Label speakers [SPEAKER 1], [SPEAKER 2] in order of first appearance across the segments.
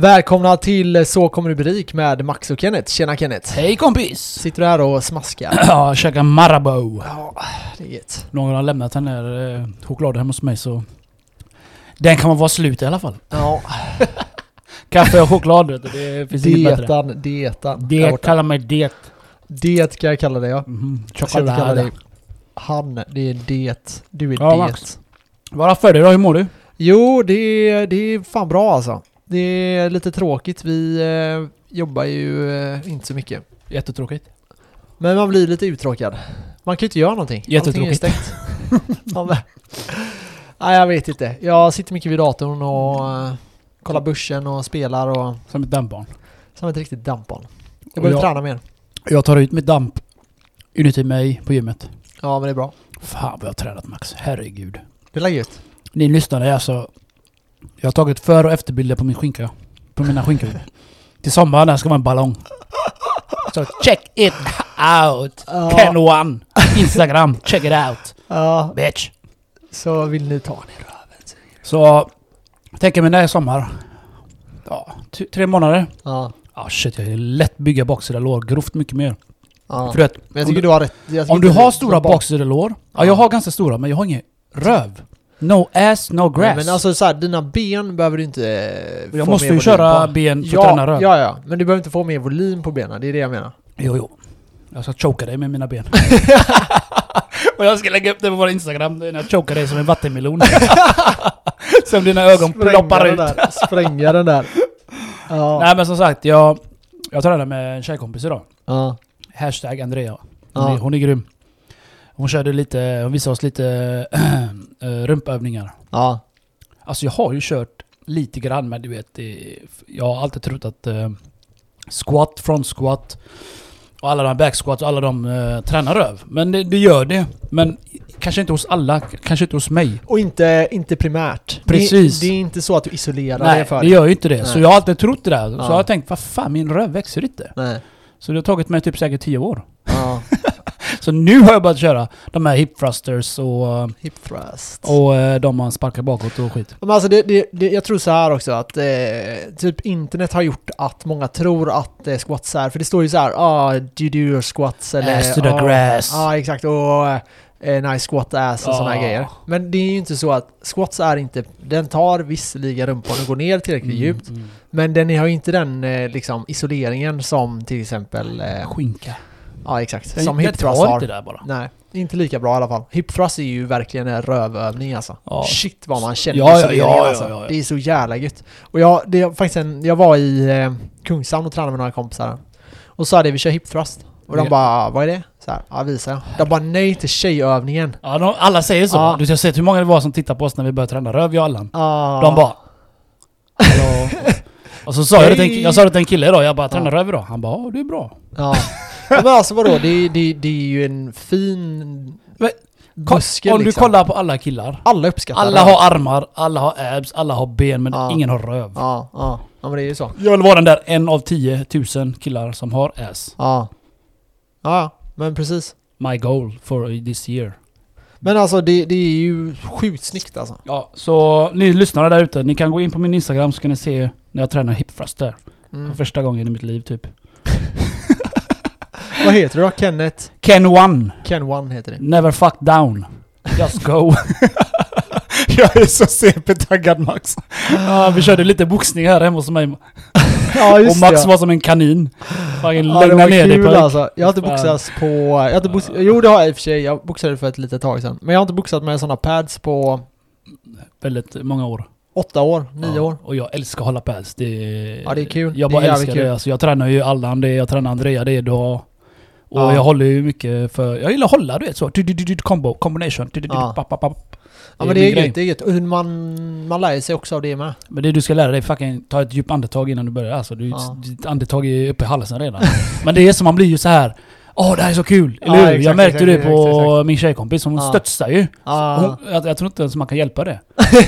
[SPEAKER 1] Välkomna till Så kommer du bli rik med Max och Kenneth. Tjena Kenneth!
[SPEAKER 2] Hej kompis!
[SPEAKER 1] Sitter du här och smaskar?
[SPEAKER 2] Ja, käka Marabou.
[SPEAKER 1] Ja, det är gött.
[SPEAKER 2] Någon har lämnat den där eh, chokladen hemma hos mig så... Den kan vara slut i alla fall.
[SPEAKER 1] Ja,
[SPEAKER 2] Kaffe och choklad vet du, det finns inget bättre.
[SPEAKER 1] dietan, dietan. där
[SPEAKER 2] Det
[SPEAKER 1] borta.
[SPEAKER 2] kallar mig det.
[SPEAKER 1] Det kan jag kalla dig ja.
[SPEAKER 2] Mhm.
[SPEAKER 1] Jag ska inte kalla
[SPEAKER 2] Choklad.
[SPEAKER 1] dig han, det är det. Du är
[SPEAKER 2] Ja,
[SPEAKER 1] det.
[SPEAKER 2] Max. Vad har du för dig då? Hur mår du?
[SPEAKER 1] Jo, det är, det är fan bra alltså. Det är lite tråkigt. Vi eh, jobbar ju eh, inte så mycket.
[SPEAKER 2] Jättetråkigt.
[SPEAKER 1] Men man blir lite uttråkad. Man kan ju inte göra någonting. Allting är
[SPEAKER 2] Jättetråkigt.
[SPEAKER 1] stängt. Man bara- Nej, jag vet inte. Jag sitter mycket vid datorn och
[SPEAKER 2] Mm.
[SPEAKER 1] eh, kollar börsen och spelar och...
[SPEAKER 2] Som ett dampbarn.
[SPEAKER 1] Som ett riktigt dampbarn. Jag
[SPEAKER 2] Och
[SPEAKER 1] behöver
[SPEAKER 2] jag-
[SPEAKER 1] träna mer.
[SPEAKER 2] Jag tar ut mitt damp inuti mig på gymmet.
[SPEAKER 1] Ja, men det är bra.
[SPEAKER 2] Fan vad jag har tränat Max. Herregud.
[SPEAKER 1] Det är gött.
[SPEAKER 2] Ni lyssnare är alltså... Jag har tagit före och efterbilder på min skinka. På mina skinkor. Till sommaren här ska vara en ballong. Så check it out!
[SPEAKER 1] Ja.
[SPEAKER 2] Ken One! Instagram, check it out!
[SPEAKER 1] Ja,
[SPEAKER 2] Bitch!
[SPEAKER 1] så vill ni ta det.
[SPEAKER 2] Så... Tänker mig när det är sommar. Ja, t- tre månader.
[SPEAKER 1] Ja.
[SPEAKER 2] Ja shit, jag är lätt bygga baksida lår. Grovt mycket mer.
[SPEAKER 1] ja.
[SPEAKER 2] För du vet,
[SPEAKER 1] Men jag
[SPEAKER 2] om
[SPEAKER 1] tycker
[SPEAKER 2] du-
[SPEAKER 1] du har rätt. Jag tycker
[SPEAKER 2] om du
[SPEAKER 1] inte
[SPEAKER 2] har
[SPEAKER 1] det-
[SPEAKER 2] stora baksida lår. Ja, jag har ganska stora men jag har ingen röv. No ass, no
[SPEAKER 1] Nej,
[SPEAKER 2] grass.
[SPEAKER 1] Men alltså så här, dina ben behöver du inte eh, få
[SPEAKER 2] jag
[SPEAKER 1] mer
[SPEAKER 2] måste ju
[SPEAKER 1] volym
[SPEAKER 2] köra
[SPEAKER 1] på.
[SPEAKER 2] ben för att träna
[SPEAKER 1] Ja,
[SPEAKER 2] röv.
[SPEAKER 1] ja, ja. Men du behöver inte få mer volym på benen. Det är det jag menar.
[SPEAKER 2] Jo, jo. Jag ska choka dig med mina ben. och jag ska lägga upp det på vår Instagram när jag chokar dig som en vattenmelon. som dina ögon ploppar
[SPEAKER 1] den
[SPEAKER 2] ut.
[SPEAKER 1] där. Spränga den där. Ja.
[SPEAKER 2] Nej men som sagt, jag, jag tränade med en tjejkompis idag.
[SPEAKER 1] Ja.
[SPEAKER 2] Hashtag Andrea. Hon,
[SPEAKER 1] Ja.
[SPEAKER 2] är, hon är grym. Hon körde lite, hon visade oss lite eh, rumpövningar.
[SPEAKER 1] Ja.
[SPEAKER 2] Alltså jag har ju kört lite grann men du vet, det, jag har alltid trott att eh, squat, front squat och alla de här back squats och alla de eh, tränar röv. Men det, det gör det. Men kanske inte hos alla, k- kanske inte hos mig.
[SPEAKER 1] Och inte, inte primärt.
[SPEAKER 2] Precis.
[SPEAKER 1] Det, det är inte så att du isolerar
[SPEAKER 2] Nej,
[SPEAKER 1] det för
[SPEAKER 2] det gör ju inte det. Så
[SPEAKER 1] Nej.
[SPEAKER 2] jag har alltid trott det där. Så
[SPEAKER 1] Ja.
[SPEAKER 2] jag har tänkt, vad fan min röv växer inte.
[SPEAKER 1] Nej.
[SPEAKER 2] Så det har tagit mig typ säkert 10 år.
[SPEAKER 1] Ja.
[SPEAKER 2] Så nu har jag börjat köra de här hip thrusters och,
[SPEAKER 1] Hip thrust.
[SPEAKER 2] och eh, de man sparkar bakåt och skit.
[SPEAKER 1] Men alltså det, det, det, jag tror så här också att eh, typ internet har gjort att många tror att eh, squats är, för det står ju så här, ah, do you do your squats eller...
[SPEAKER 2] Ass to the
[SPEAKER 1] ah,
[SPEAKER 2] grass.
[SPEAKER 1] Ja, exakt. Och eh, nice squat ass och
[SPEAKER 2] Ja.
[SPEAKER 1] sådana grejer. Men det är ju inte så att squats är inte, den tar visserligen rumpan och går ner tillräckligt djupt,
[SPEAKER 2] Mm, mm.
[SPEAKER 1] men den har ju inte den eh, liksom isoleringen som till exempel, eh,
[SPEAKER 2] Skinka.
[SPEAKER 1] ja exakt,
[SPEAKER 2] Den-
[SPEAKER 1] som
[SPEAKER 2] den
[SPEAKER 1] hip thrust
[SPEAKER 2] tar
[SPEAKER 1] har.
[SPEAKER 2] inte där bara.
[SPEAKER 1] Nej, inte lika bra i alla fall. Hip thrust är ju verkligen en rövövning alltså.
[SPEAKER 2] Ja.
[SPEAKER 1] Shit vad man känner
[SPEAKER 2] Ja, ja,
[SPEAKER 1] isoleringen,
[SPEAKER 2] ja, ja,
[SPEAKER 1] alltså.
[SPEAKER 2] ja, ja.
[SPEAKER 1] Det är så jävla gött. Och jag, det är faktiskt en, jag var i eh, Kungshamn och tränade med några kompisar. Och sa det, vi kör hip thrust. Och de
[SPEAKER 2] Ja.
[SPEAKER 1] bara, vad är det? Så här, ja visa. jag." De bara, nej till tjejövningen.
[SPEAKER 2] Ja, de, alla säger så.
[SPEAKER 1] Ja.
[SPEAKER 2] Du har sett hur många det var som tittade på oss när vi började träna röv, jag och Allan.
[SPEAKER 1] Ah,
[SPEAKER 2] De bara... Hallå? och så sa jag, det till, en- jag sa det till en kille idag, jag bara tränar röv idag. Han bara ja, det är bra.
[SPEAKER 1] Ja. Men alltså vadå, det, det, det är ju en fin
[SPEAKER 2] Men, Ko-
[SPEAKER 1] muskel
[SPEAKER 2] Om du
[SPEAKER 1] liksom.
[SPEAKER 2] kollar på alla killar.
[SPEAKER 1] Alla uppskattar
[SPEAKER 2] Alla
[SPEAKER 1] röv.
[SPEAKER 2] har armar, alla har abs, alla har ben men
[SPEAKER 1] Ja.
[SPEAKER 2] ingen har röv.
[SPEAKER 1] Ja, ja. Ja men det är ju så.
[SPEAKER 2] Jag vill vara den där en av 10 000 killar som har ass.
[SPEAKER 1] Ja. Ja, ja. men precis.
[SPEAKER 2] My goal for this year.
[SPEAKER 1] Men alltså det, det är ju sjukt snyggt alltså.
[SPEAKER 2] Ja, så ni lyssnare där ute, ni kan gå in på min Instagram så kan ni se när jag tränar hip thrust där.
[SPEAKER 1] Mm.
[SPEAKER 2] För första gången i mitt liv typ.
[SPEAKER 1] Vad heter du då? Kenneth?
[SPEAKER 2] Ken One.
[SPEAKER 1] Ken One heter det.
[SPEAKER 2] Never fuck down. Just go. jag är så CP-taggad Max. Ja, vi körde lite boxning här hemma hos mig. Och
[SPEAKER 1] Ja
[SPEAKER 2] Max var som en kanin. Fucking
[SPEAKER 1] ja, det
[SPEAKER 2] lugna
[SPEAKER 1] var
[SPEAKER 2] ner dig
[SPEAKER 1] kul
[SPEAKER 2] pojk.
[SPEAKER 1] alltså. Jag har inte
[SPEAKER 2] Fan.
[SPEAKER 1] boxats på... Jag har inte box, jo det har jag i och för sig. Jag boxade för ett litet tag sedan. Men jag har inte boxat med sådana pads på
[SPEAKER 2] Väldigt många år.
[SPEAKER 1] åtta år, nio
[SPEAKER 2] ja.
[SPEAKER 1] år.
[SPEAKER 2] Och jag älskar att hålla päls. Det är,
[SPEAKER 1] Ja, det är kul.
[SPEAKER 2] Jag
[SPEAKER 1] Det
[SPEAKER 2] bara
[SPEAKER 1] är jävligt
[SPEAKER 2] älskar
[SPEAKER 1] kul.
[SPEAKER 2] det. Alltså, jag tränar ju Allan det, jag tränar Andrea det du har. Och
[SPEAKER 1] Ja.
[SPEAKER 2] jag håller ju mycket för... Jag gillar att hålla du vet så. Du, du, du, du, combo, combination. Du, du, du,
[SPEAKER 1] Ja.
[SPEAKER 2] papp, papp, papp.
[SPEAKER 1] Ja men det
[SPEAKER 2] min
[SPEAKER 1] är
[SPEAKER 2] grej.
[SPEAKER 1] gött, det är gött. Och hur man, man lär sig också av det med.
[SPEAKER 2] Men det du ska lära dig är fucking ta ett djupt andetag innan du börjar. Alltså, du,
[SPEAKER 1] Ja.
[SPEAKER 2] Ditt andetag är uppe i halsen redan. Men det är som man blir ju så här. Åh det här är så kul! Eller
[SPEAKER 1] Ja,
[SPEAKER 2] hur?
[SPEAKER 1] exakt,
[SPEAKER 2] jag märkte
[SPEAKER 1] exakt,
[SPEAKER 2] det
[SPEAKER 1] exakt,
[SPEAKER 2] på
[SPEAKER 1] exakt.
[SPEAKER 2] min tjejkompis, hon
[SPEAKER 1] Ja.
[SPEAKER 2] studsar ju.
[SPEAKER 1] Ah.
[SPEAKER 2] Hon, jag, jag tror inte ens man kan hjälpa det.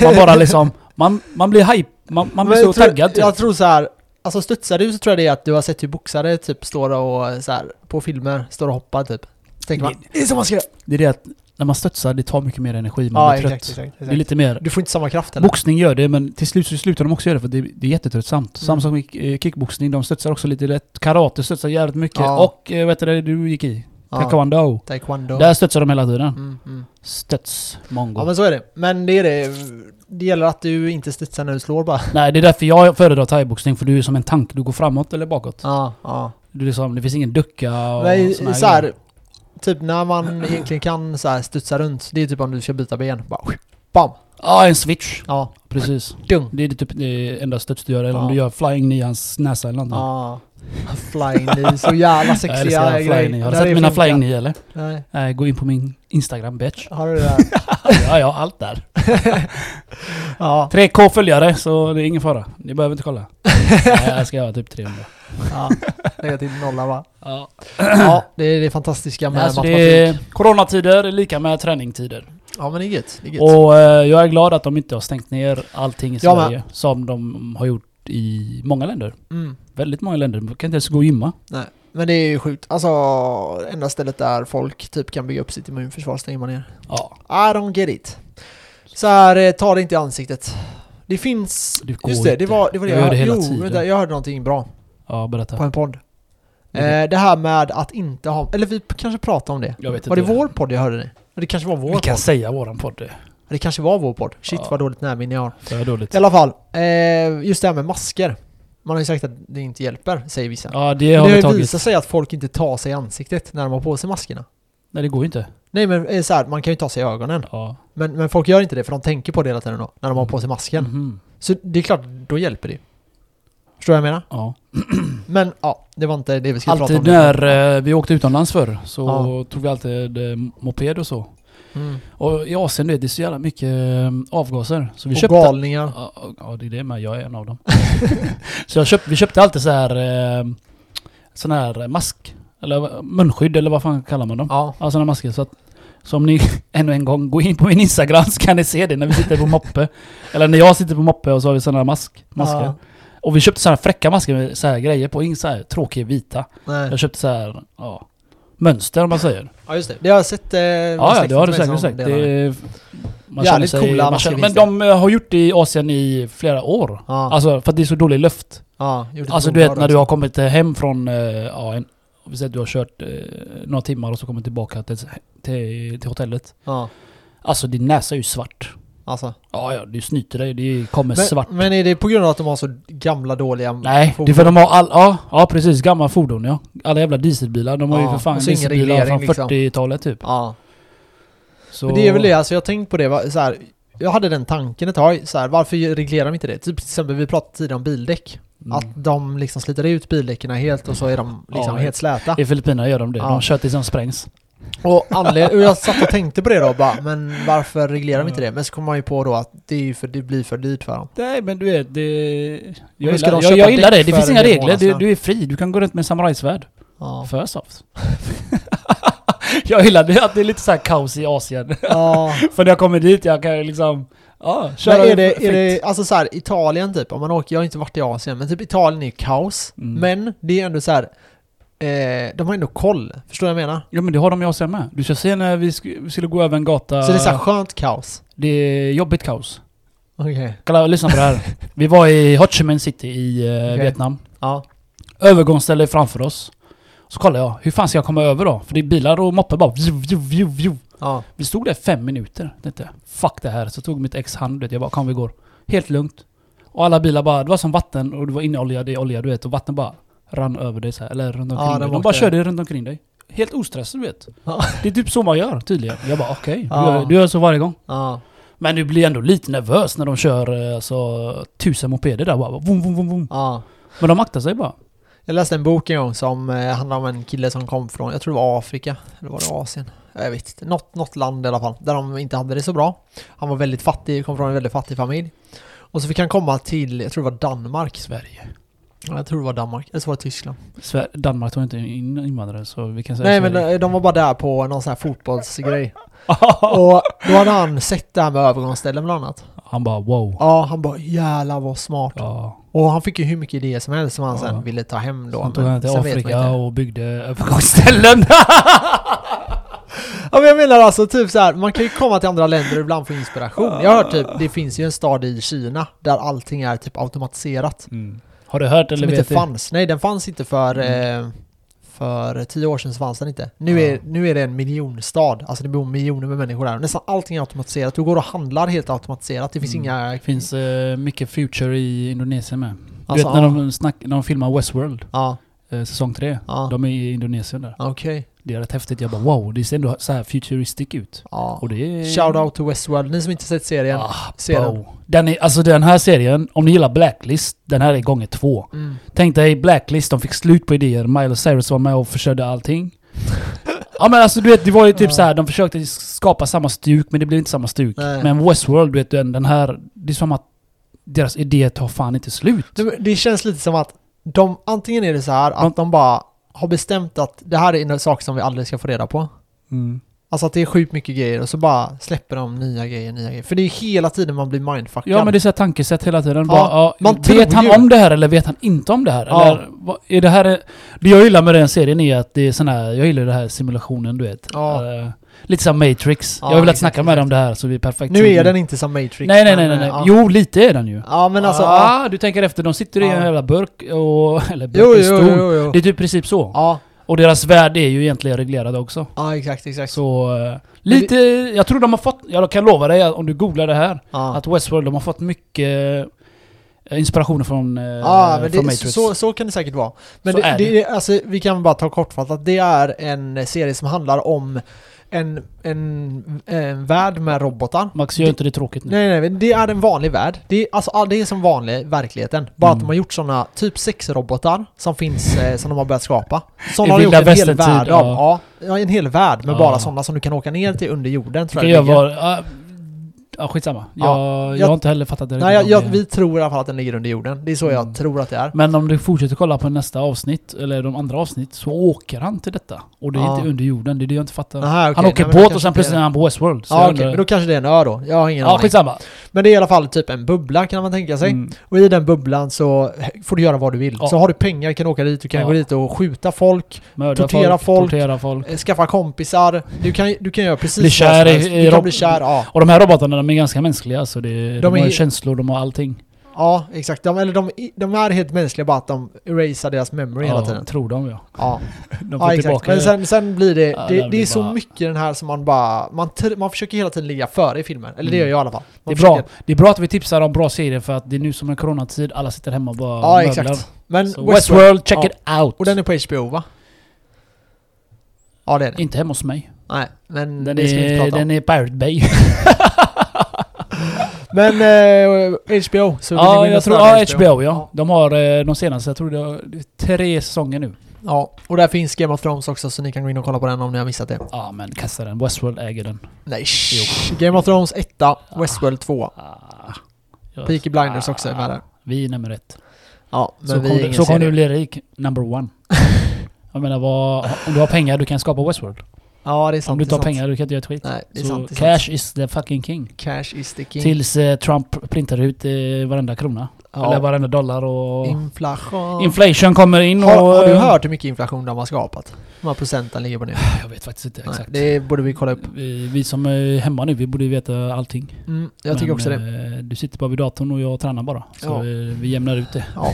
[SPEAKER 2] Man bara liksom, man, man blir hype, man, man blir
[SPEAKER 1] Men
[SPEAKER 2] så
[SPEAKER 1] jag tror-
[SPEAKER 2] taggad typ.
[SPEAKER 1] Jag tror så här. Alltså studsar du så tror jag det är att du har sett hur boxare typ står och så här, på filmer, står och hoppar typ. Så Tänker man, det är så man ska göra.
[SPEAKER 2] Det är det att när man studsar, det tar mycket mer energi, man
[SPEAKER 1] Ja,
[SPEAKER 2] blir trött.
[SPEAKER 1] exakt, exakt,
[SPEAKER 2] Det är
[SPEAKER 1] exakt.
[SPEAKER 2] lite mer...
[SPEAKER 1] Du får inte samma kraft heller.
[SPEAKER 2] Boxning gör det, men till slut så slutar de också göra det för det, det är jättetröttsamt. Samma
[SPEAKER 1] Mm.
[SPEAKER 2] sak med eh, kickboxning, de studsar också lite lätt. Karate studsar jävligt mycket.
[SPEAKER 1] Ja.
[SPEAKER 2] Och eh, vad heter det du gick i?
[SPEAKER 1] Ja,
[SPEAKER 2] Taekwondo.
[SPEAKER 1] Taekwondo.
[SPEAKER 2] Där studsar de hela tiden.
[SPEAKER 1] Mm, mm.
[SPEAKER 2] Stöts, mongo.
[SPEAKER 1] Ja men så är det. Men det är det. Det gäller att du inte studsar när du slår bara.
[SPEAKER 2] Nej, det är därför jag föredrar thaiboxning, för du är som en tank. Du går framåt eller bakåt.
[SPEAKER 1] Ja, ja.
[SPEAKER 2] Du är liksom, det finns ingen ducka och
[SPEAKER 1] Nej,
[SPEAKER 2] såna här
[SPEAKER 1] så här,
[SPEAKER 2] grejer.
[SPEAKER 1] typ när man egentligen kan så här studsa runt, det är typ om du ska byta ben. Bara, bam!
[SPEAKER 2] Ja, en switch.
[SPEAKER 1] Ja,
[SPEAKER 2] Precis.
[SPEAKER 1] dung!
[SPEAKER 2] Det är typ det enda stöts du gör, eller om
[SPEAKER 1] Ja.
[SPEAKER 2] du gör flying knee i hans näsa eller någonting.
[SPEAKER 1] Ja. Flying knee, så jävla
[SPEAKER 2] Jag
[SPEAKER 1] sexiga
[SPEAKER 2] älskar
[SPEAKER 1] grejer.
[SPEAKER 2] flying knee. Har du
[SPEAKER 1] Där är
[SPEAKER 2] sett mina
[SPEAKER 1] funkar.
[SPEAKER 2] flying knee eller?
[SPEAKER 1] Nej,
[SPEAKER 2] Nej, gå in på min Instagram bitch.
[SPEAKER 1] har du det där?
[SPEAKER 2] Ja, jag har allt där.
[SPEAKER 1] ja.
[SPEAKER 2] 3K följare, så det är ingen fara. Ni behöver inte kolla. Nej, jag ska ha typ 300.
[SPEAKER 1] ja. Lägga till nolla va?
[SPEAKER 2] Ja.
[SPEAKER 1] Ja, det är det fantastiska med
[SPEAKER 2] Alltså
[SPEAKER 1] matematik.
[SPEAKER 2] det är coronatider är lika med träningtider.
[SPEAKER 1] Ja men det är gött. Det är gött.
[SPEAKER 2] Och eh, jag är glad att de inte har stängt ner allting i
[SPEAKER 1] Jag
[SPEAKER 2] Sverige. Som de har gjort i många länder.
[SPEAKER 1] Mm.
[SPEAKER 2] Väldigt många länder. Man kan inte ens gå och gymma.
[SPEAKER 1] Nej, men det är ju sjukt. Alltså, enda stället där folk typ kan bygga upp sitt immunförsvar stänger man ner.
[SPEAKER 2] Ja,
[SPEAKER 1] I don't get it. Så här, eh, ta det inte i ansiktet. Det finns...
[SPEAKER 2] Det går
[SPEAKER 1] just det, det
[SPEAKER 2] inte.
[SPEAKER 1] var det var det
[SPEAKER 2] Jag gör det hela
[SPEAKER 1] jo,
[SPEAKER 2] tiden.
[SPEAKER 1] Vänta, jag hörde någonting bra
[SPEAKER 2] ja
[SPEAKER 1] på
[SPEAKER 2] berätta.
[SPEAKER 1] en podd.
[SPEAKER 2] Mhm.
[SPEAKER 1] Eh, det här med att inte ha... Eller vi p- kanske pratade om det.
[SPEAKER 2] Jag vet
[SPEAKER 1] var det
[SPEAKER 2] inte.
[SPEAKER 1] vår podd jag hörde det? Ja, Det kanske var vår
[SPEAKER 2] Vi kan
[SPEAKER 1] podd.
[SPEAKER 2] säga våran podd.
[SPEAKER 1] Det kanske var vår podd. Shit
[SPEAKER 2] Ja.
[SPEAKER 1] vad dåligt närminne jag har.
[SPEAKER 2] Det är dåligt.
[SPEAKER 1] I alla fall, eh, just det här med masker. Man har ju sagt att det inte hjälper, säger vissa.
[SPEAKER 2] Ja, det
[SPEAKER 1] Men det
[SPEAKER 2] har vi
[SPEAKER 1] har ju
[SPEAKER 2] tagit.
[SPEAKER 1] visat sig att folk inte tar sig i ansiktet när de har på sig maskerna.
[SPEAKER 2] Nej, det går ju inte.
[SPEAKER 1] Nej men eh, så här, man kan ju ta sig i ögonen.
[SPEAKER 2] Ja.
[SPEAKER 1] Men, men folk gör inte det för de tänker på det hela tiden då, när de har på sig masken.
[SPEAKER 2] Mhm.
[SPEAKER 1] Så det är klart, då hjälper det ju. Förstår du vad jag menar?
[SPEAKER 2] Ja.
[SPEAKER 1] Men ja, det var inte det vi skulle
[SPEAKER 2] Mm. Alltid
[SPEAKER 1] prata om.
[SPEAKER 2] när eh, vi åkte utomlands förr så
[SPEAKER 1] Ja.
[SPEAKER 2] tog vi alltid eh, moped och så.
[SPEAKER 1] Mm.
[SPEAKER 2] Och i Asien du vet, det är så jävla mycket eh, avgaser. Så vi
[SPEAKER 1] Och
[SPEAKER 2] köpte...
[SPEAKER 1] galningar.
[SPEAKER 2] Ja, ja, ja, det är det med. Jag är en av dem. så jag köpt, vi köpte alltid så här... Eh, sån här mask. Eller eh, munskydd eller vad fan kallar man dem?
[SPEAKER 1] Ja.
[SPEAKER 2] Ja, såna masker. Så att, så om ni ännu en gång går in på min Instagram så kan ni se det när vi sitter på moppe. eller när jag sitter på moppe och så har vi såna här mask, masker.
[SPEAKER 1] Ja.
[SPEAKER 2] Och vi köpte såna här fräcka masker med så här grejer på. Inga så här tråkiga vita.
[SPEAKER 1] Nej.
[SPEAKER 2] Jag köpte så här, ja, mönster om man säger.
[SPEAKER 1] ja, just det. Det har jag sett... Eh,
[SPEAKER 2] Ja, ja det har du säkert sagt. Det är, man
[SPEAKER 1] Jävligt
[SPEAKER 2] känner sig,
[SPEAKER 1] coola
[SPEAKER 2] man känner, Men
[SPEAKER 1] masker finns
[SPEAKER 2] de eh, har gjort det i Asien i flera år.
[SPEAKER 1] Ja.
[SPEAKER 2] Alltså för att det är så dålig luft.
[SPEAKER 1] ja, gjort ett
[SPEAKER 2] Alltså du vet
[SPEAKER 1] blodbad
[SPEAKER 2] när du
[SPEAKER 1] också.
[SPEAKER 2] har kommit eh, hem från, eh, ja, en, vi säger att du har kört eh, några timmar och så kommer tillbaka till, till, till hotellet.
[SPEAKER 1] Ja,
[SPEAKER 2] Alltså din näsa är ju svart.
[SPEAKER 1] alltså.
[SPEAKER 2] Ja, ja, du snyter dig. Det kommer svart.
[SPEAKER 1] Men, Mm. men är det på grund av att de har så gamla, dåliga...
[SPEAKER 2] Nej, det är för de har all, ja, ja precis, gamla fordon ja. Alla jävla dieselbilar, de har ju
[SPEAKER 1] Ja,
[SPEAKER 2] för fan
[SPEAKER 1] och så ingen
[SPEAKER 2] dieselbilar
[SPEAKER 1] reglering,
[SPEAKER 2] från
[SPEAKER 1] liksom.
[SPEAKER 2] 40-talet typ.
[SPEAKER 1] Ja.
[SPEAKER 2] Så,
[SPEAKER 1] Men det är väl det, alltså jag har tänkt på det, va, så här, jag hade den tanken ett tag, så här, varför reglerar de inte det? Typ till exempel, vi pratade tidigare om bildäck.
[SPEAKER 2] Mm.
[SPEAKER 1] Att de liksom sliter ut bildäcken helt och så är de liksom
[SPEAKER 2] Ja,
[SPEAKER 1] helt släta.
[SPEAKER 2] I Filippinerna gör de det.
[SPEAKER 1] Ja.
[SPEAKER 2] De kör tills de sprängs.
[SPEAKER 1] Och, anled- och jag satt och tänkte på det då bara, men varför reglerar de inte
[SPEAKER 2] Mm.
[SPEAKER 1] det? Men så kom man ju på då att det, är ju för, det blir för dyrt för dem.
[SPEAKER 2] Nej men du vet, det... Jag
[SPEAKER 1] Men ska
[SPEAKER 2] gillar,
[SPEAKER 1] de
[SPEAKER 2] jag,
[SPEAKER 1] köpa
[SPEAKER 2] jag gillar det.
[SPEAKER 1] däck
[SPEAKER 2] Det
[SPEAKER 1] för
[SPEAKER 2] finns
[SPEAKER 1] en
[SPEAKER 2] inga
[SPEAKER 1] hel
[SPEAKER 2] regler. Du,
[SPEAKER 1] månadslön?
[SPEAKER 2] du är fri. Du kan gå runt med samurajsvärd.
[SPEAKER 1] Ja.
[SPEAKER 2] För soft. jag gillar det att det är lite så här kaos i Asien.
[SPEAKER 1] ja.
[SPEAKER 2] För när jag kommer dit, jag kan ju liksom... Ja,
[SPEAKER 1] Men
[SPEAKER 2] köra
[SPEAKER 1] är det,
[SPEAKER 2] fritt.
[SPEAKER 1] är det, alltså så här, Italien typ, om man åker, jag har inte varit i Asien, men typ Italien är ju kaos.
[SPEAKER 2] Mm.
[SPEAKER 1] Men det är ändå så här, eh, de har ändå koll. Förstår du vad jag menar?
[SPEAKER 2] Ja men det har de i Asien med. Du ska se när vi, sk- vi skulle gå över en gata.
[SPEAKER 1] Så det är så här skönt kaos.
[SPEAKER 2] det är jobbigt kaos.
[SPEAKER 1] Okej.
[SPEAKER 2] Kolla, lyssna på det här. vi var i Ho Chi Minh City i eh,
[SPEAKER 1] Okej.
[SPEAKER 2] Vietnam.
[SPEAKER 1] Ja.
[SPEAKER 2] Övergångsställe framför oss. Så kollar jag, hur fan ska jag komma över då? För det är bilar och moppar bara... Vju, vju, vju, vju.
[SPEAKER 1] Ja.
[SPEAKER 2] Vi stod där fem minuter. Tänkte, fuck det här. Så tog mitt ex hand. du vet, Jag bara, kom vi går. Helt lugnt. Och alla bilar bara, det var som vatten och det var inolja, det är olja du vet. Och vatten bara rann över dig så här, eller runt omkring
[SPEAKER 1] Ja, de
[SPEAKER 2] dig. De
[SPEAKER 1] åkte-
[SPEAKER 2] bara körde runt omkring dig. Helt ostressad du vet.
[SPEAKER 1] Ja.
[SPEAKER 2] Det är typ så man gör tydligen. Jag bara okej, du
[SPEAKER 1] Ja.
[SPEAKER 2] gör- du gör så varje gång.
[SPEAKER 1] Ja.
[SPEAKER 2] Men du blir ändå lite nervös när de kör eh, alltså, tusen mopeder där bara. Vum, vum, vum, vum.
[SPEAKER 1] ja.
[SPEAKER 2] Men de aktar sig bara.
[SPEAKER 1] Jag läste en bok en gång som eh, handlade om en kille som kom från, jag tror det var Afrika, eller var det Asien? Jag vet inte, något, något land i alla fall, där de inte hade det så bra. Han var väldigt fattig, kom från en väldigt fattig familj. Och så fick han komma till, jag tror det var Danmark,
[SPEAKER 2] Sverige.
[SPEAKER 1] Ja, jag tror det var Danmark, eller så var det Tyskland.
[SPEAKER 2] Sver- Danmark tar inte in invandrare så vi kan säga
[SPEAKER 1] Nej men
[SPEAKER 2] Sverige.
[SPEAKER 1] eh, de var bara där på någon sån här fotbollsgrej. Och då hade han sett det här med övergångsställen bland annat.
[SPEAKER 2] Han bara wow.
[SPEAKER 1] Ja, han bara jävlar vad smart.
[SPEAKER 2] Ja.
[SPEAKER 1] Och han fick ju hur mycket idéer som helst som han
[SPEAKER 2] Ja.
[SPEAKER 1] sen ville ta hem då.
[SPEAKER 2] Sen tog
[SPEAKER 1] men
[SPEAKER 2] han till
[SPEAKER 1] sen vet man
[SPEAKER 2] Afrika
[SPEAKER 1] inte.
[SPEAKER 2] och byggde övergångsställen.
[SPEAKER 1] Ja, men jag menar alltså typ så här, man kan ju komma till andra länder och ibland få inspiration. Jag har hört typ, det finns ju en stad i Kina där allting är typ automatiserat.
[SPEAKER 2] Mm. Har du hört eller
[SPEAKER 1] som inte
[SPEAKER 2] vet du?
[SPEAKER 1] fanns. Nej, den fanns inte för... Eh, för tio år sedan så fanns den inte. Nu är,
[SPEAKER 2] Ja.
[SPEAKER 1] nu är det en miljonstad. Alltså det bor miljoner med människor där. Nästan allting är automatiserat. Du går och handlar helt automatiserat. Det finns
[SPEAKER 2] Mm.
[SPEAKER 1] inga...
[SPEAKER 2] Det finns eh, mycket future i Indonesien med. Du
[SPEAKER 1] Alltså,
[SPEAKER 2] vet när
[SPEAKER 1] ja.
[SPEAKER 2] de, snack, när de filmar Westworld,
[SPEAKER 1] Ja,
[SPEAKER 2] eh, säsong 3.
[SPEAKER 1] ja.
[SPEAKER 2] De är i Indonesien där.
[SPEAKER 1] Okej.
[SPEAKER 2] Det är rätt häftigt. Jag bara wow, det ser ändå så här futuristic ut.
[SPEAKER 1] Ja.
[SPEAKER 2] Och det är...
[SPEAKER 1] Shout out to Westworld. Ni som inte sett serien,
[SPEAKER 2] Ah,
[SPEAKER 1] se den.
[SPEAKER 2] wow. Den är, alltså den här serien, om ni gillar Blacklist, den här är gånger två.
[SPEAKER 1] Mm.
[SPEAKER 2] Tänk dig Blacklist, de fick slut på idéer. Miley Cyrus var med och förstörde allting. ja men alltså du vet, det var ju typ så här, de försökte skapa samma stuk men det blev inte samma stuk.
[SPEAKER 1] Nej.
[SPEAKER 2] Men Westworld, du vet den, den här, det är som att deras idé tar fan inte slut.
[SPEAKER 1] Det, det känns lite som att de, antingen är det så här att de bara har bestämt att det här är en sak som vi aldrig ska få reda på.
[SPEAKER 2] Mm.
[SPEAKER 1] Alltså att det är sjukt mycket grejer och så bara släpper de nya grejer, nya grejer. För det är hela tiden man blir mindfuckad.
[SPEAKER 2] Ja men det är så här tankesätt hela tiden.
[SPEAKER 1] Ja,
[SPEAKER 2] Bara, ja,
[SPEAKER 1] man
[SPEAKER 2] vet
[SPEAKER 1] tror
[SPEAKER 2] han
[SPEAKER 1] ju.
[SPEAKER 2] om det här eller vet han inte om det här?
[SPEAKER 1] Ja.
[SPEAKER 2] Eller, vad, är det, här det jag gillar med den serien är att det är sån här, jag gillar den här simulationen du vet.
[SPEAKER 1] Ja.
[SPEAKER 2] Eh, lite som Matrix.
[SPEAKER 1] Ja,
[SPEAKER 2] jag har velat
[SPEAKER 1] exakt,
[SPEAKER 2] snacka med dig om det här så vi är perfekt.
[SPEAKER 1] nu är den inte som Matrix.
[SPEAKER 2] Nej nej
[SPEAKER 1] men,
[SPEAKER 2] nej nej. nej.
[SPEAKER 1] ja.
[SPEAKER 2] Jo lite är den ju.
[SPEAKER 1] Ja men alltså... ja.
[SPEAKER 2] ah, du tänker efter, de sitter i en
[SPEAKER 1] Ja.
[SPEAKER 2] jävla burk och... Eller burk,
[SPEAKER 1] Jo,
[SPEAKER 2] en
[SPEAKER 1] jo,
[SPEAKER 2] stol.
[SPEAKER 1] jo, jo.
[SPEAKER 2] Det är typ i princip så.
[SPEAKER 1] Ja,
[SPEAKER 2] Och deras värld är ju egentligen reglerad också.
[SPEAKER 1] ja exakt, exakt.
[SPEAKER 2] Så... eh, Lite... Jag tror de har fått... Jag kan lova dig att om du googlar det här,
[SPEAKER 1] ja.
[SPEAKER 2] att Westworld, de har fått mycket eh, inspiration från, eh,
[SPEAKER 1] Ja, men
[SPEAKER 2] från
[SPEAKER 1] det,
[SPEAKER 2] Matrix.
[SPEAKER 1] så, så kan det säkert vara. Men
[SPEAKER 2] Så
[SPEAKER 1] det,
[SPEAKER 2] är
[SPEAKER 1] det. är- alltså, vi kan bara ta kortfattat, det är en serie som handlar om en, en, en värld med robotar.
[SPEAKER 2] Max, gör inte det tråkigt nu.
[SPEAKER 1] Nej, nej, men det är en vanlig värld. Det är, alltså, all- det är som vanlig verkligheten. Bara att
[SPEAKER 2] Mm.
[SPEAKER 1] de har gjort sådana typ sex robotar som finns, eh, som de har börjat skapa. Sådana
[SPEAKER 2] I
[SPEAKER 1] har de gjort
[SPEAKER 2] vilda
[SPEAKER 1] en hel
[SPEAKER 2] västern-tid,
[SPEAKER 1] värld av. Ja.
[SPEAKER 2] ja.
[SPEAKER 1] ja, en hel värld med
[SPEAKER 2] Ja.
[SPEAKER 1] bara sådana som du kan åka ner till under jorden
[SPEAKER 2] Du
[SPEAKER 1] tror
[SPEAKER 2] kan
[SPEAKER 1] jag.
[SPEAKER 2] göra
[SPEAKER 1] det ligger.
[SPEAKER 2] var... ah, Ja, skitsamma. Jag,
[SPEAKER 1] Ja,
[SPEAKER 2] jag,
[SPEAKER 1] jag-
[SPEAKER 2] har inte heller fattat det
[SPEAKER 1] Nej, jag,
[SPEAKER 2] riktigt om
[SPEAKER 1] jag,
[SPEAKER 2] det.
[SPEAKER 1] vi tror i alla fall att den ligger under jorden. Det är så jag
[SPEAKER 2] Mm.
[SPEAKER 1] tror att det är.
[SPEAKER 2] Men om du fortsätter kolla på nästa avsnitt, eller de andra avsnitt, så åker han till detta. Och det är
[SPEAKER 1] Ja.
[SPEAKER 2] inte under jorden, det är det jag inte fattar.
[SPEAKER 1] Aha, okej.
[SPEAKER 2] Han
[SPEAKER 1] Nej,
[SPEAKER 2] åker
[SPEAKER 1] men då
[SPEAKER 2] båt
[SPEAKER 1] kanske
[SPEAKER 2] och
[SPEAKER 1] inte
[SPEAKER 2] sen
[SPEAKER 1] är
[SPEAKER 2] plötsligt
[SPEAKER 1] det.
[SPEAKER 2] är han på Westworld. Så
[SPEAKER 1] Ja
[SPEAKER 2] jag
[SPEAKER 1] okej,
[SPEAKER 2] undrar-
[SPEAKER 1] men då kanske det är en ö då. Jag har ingen
[SPEAKER 2] ja
[SPEAKER 1] aning.
[SPEAKER 2] skitsamma.
[SPEAKER 1] Men det är i alla fall typ en bubbla kan man tänka sig.
[SPEAKER 2] Mm.
[SPEAKER 1] Och i den bubblan så får du göra vad du vill.
[SPEAKER 2] Ja.
[SPEAKER 1] Så har du pengar kan du åka dit, du kan
[SPEAKER 2] Ja.
[SPEAKER 1] gå dit och skjuta folk,
[SPEAKER 2] Mörda
[SPEAKER 1] Tortera folk.
[SPEAKER 2] Tortera folk.
[SPEAKER 1] eh, skaffa kompisar. Du kan, du kan göra precis
[SPEAKER 2] Bli kär
[SPEAKER 1] vad som
[SPEAKER 2] i-
[SPEAKER 1] helst.
[SPEAKER 2] i
[SPEAKER 1] Du kan
[SPEAKER 2] rob-
[SPEAKER 1] bli kär, ja.
[SPEAKER 2] Och de här robotarna, de är ganska mänskliga. Så det, de, har
[SPEAKER 1] är-
[SPEAKER 2] ju känslor, de har allting.
[SPEAKER 1] Ja, exakt. De, eller de, de är helt mänskliga bara att de erasar deras memory hela tiden.
[SPEAKER 2] tror de ja.
[SPEAKER 1] Ja,
[SPEAKER 2] De får
[SPEAKER 1] ja exakt.
[SPEAKER 2] tillbaka...
[SPEAKER 1] Men sen, sen blir det,
[SPEAKER 2] Ja,
[SPEAKER 1] det,
[SPEAKER 2] det
[SPEAKER 1] det är
[SPEAKER 2] blir
[SPEAKER 1] så
[SPEAKER 2] bara-
[SPEAKER 1] mycket den här som man bara, man, tr- man försöker hela tiden ligga före i filmen. Eller det
[SPEAKER 2] Mm.
[SPEAKER 1] gör jag i alla fall.
[SPEAKER 2] det,
[SPEAKER 1] Man
[SPEAKER 2] är bra.
[SPEAKER 1] försöker-
[SPEAKER 2] det är bra att vi tipsar om bra serier för att det är nu som en coronatid, alla sitter hemma och bara
[SPEAKER 1] Ja,
[SPEAKER 2] möblar.
[SPEAKER 1] exakt. Men
[SPEAKER 2] Så
[SPEAKER 1] Westworld,
[SPEAKER 2] Westworld, check
[SPEAKER 1] Ja.
[SPEAKER 2] it out!
[SPEAKER 1] och den är på HBO va? Ja det är den.
[SPEAKER 2] Inte hemma hos mig.
[SPEAKER 1] Nej, men
[SPEAKER 2] Den,
[SPEAKER 1] det ska vi inte
[SPEAKER 2] är,
[SPEAKER 1] prata om.
[SPEAKER 2] den är Pirate Bay.
[SPEAKER 1] Men eh, HBO, så vill ni gå
[SPEAKER 2] ja,
[SPEAKER 1] in
[SPEAKER 2] jag
[SPEAKER 1] och
[SPEAKER 2] tror,
[SPEAKER 1] stödja
[SPEAKER 2] ja, HBO ja. De har eh, de senaste, jag tror det har det är tre säsonger nu.
[SPEAKER 1] Ja, och där finns Game of Thrones också så ni kan gå in och kolla på den om ni har missat det.
[SPEAKER 2] Ja men kasta den, Westworld äger den.
[SPEAKER 1] Nej, shh. Game of Thrones 1, Westworld 2.
[SPEAKER 2] Ah. Ja.
[SPEAKER 1] Peaky Blinders också är med där.
[SPEAKER 2] Vi är nummer ett.
[SPEAKER 1] Ja, men
[SPEAKER 2] så
[SPEAKER 1] vi
[SPEAKER 2] kommer
[SPEAKER 1] är
[SPEAKER 2] du,
[SPEAKER 1] ingen
[SPEAKER 2] så kommer du
[SPEAKER 1] serie.
[SPEAKER 2] bli rik, number one. jag menar vad, om du har pengar du kan skapa Westworld.
[SPEAKER 1] Ja, det är sant.
[SPEAKER 2] om du
[SPEAKER 1] det är
[SPEAKER 2] tar
[SPEAKER 1] sant.
[SPEAKER 2] pengar du kan inte göra ett skit.
[SPEAKER 1] Nej, det är
[SPEAKER 2] Så
[SPEAKER 1] sant. Det är
[SPEAKER 2] cash
[SPEAKER 1] sant.
[SPEAKER 2] is the fucking king.
[SPEAKER 1] Cash is the king.
[SPEAKER 2] Tills eh, Trump printar ut eh, varenda krona.
[SPEAKER 1] Ja.
[SPEAKER 2] Eller varenda dollar och...
[SPEAKER 1] Inflation.
[SPEAKER 2] Inflation kommer in och...
[SPEAKER 1] har, har du hört hur mycket inflation de har skapat? Hur många procenten ligger på nu?
[SPEAKER 2] Jag vet faktiskt inte
[SPEAKER 1] Nej,
[SPEAKER 2] exakt.
[SPEAKER 1] det borde vi kolla upp.
[SPEAKER 2] vi, vi som är hemma nu, vi borde ju veta allting.
[SPEAKER 1] Mm, jag tycker
[SPEAKER 2] Men,
[SPEAKER 1] också det.
[SPEAKER 2] eh, Du sitter bara vid datorn och jag tränar bara. Så
[SPEAKER 1] Ja.
[SPEAKER 2] eh, vi jämnar ut det.
[SPEAKER 1] Ja,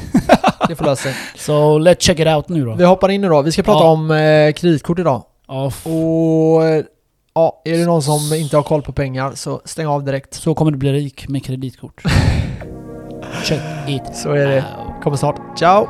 [SPEAKER 1] det får lösa sig.
[SPEAKER 2] Så let's check it out nu då.
[SPEAKER 1] Vi hoppar in nu då. Vi ska prata
[SPEAKER 2] Ja.
[SPEAKER 1] om eh, kreditkort idag.
[SPEAKER 2] Ja, f-
[SPEAKER 1] Och eh, ja, är det någon som inte har koll på pengar så stäng av direkt.
[SPEAKER 2] så kommer du bli rik med kreditkort. check it
[SPEAKER 1] Så är det.
[SPEAKER 2] out.
[SPEAKER 1] Kommer snart. Ciao!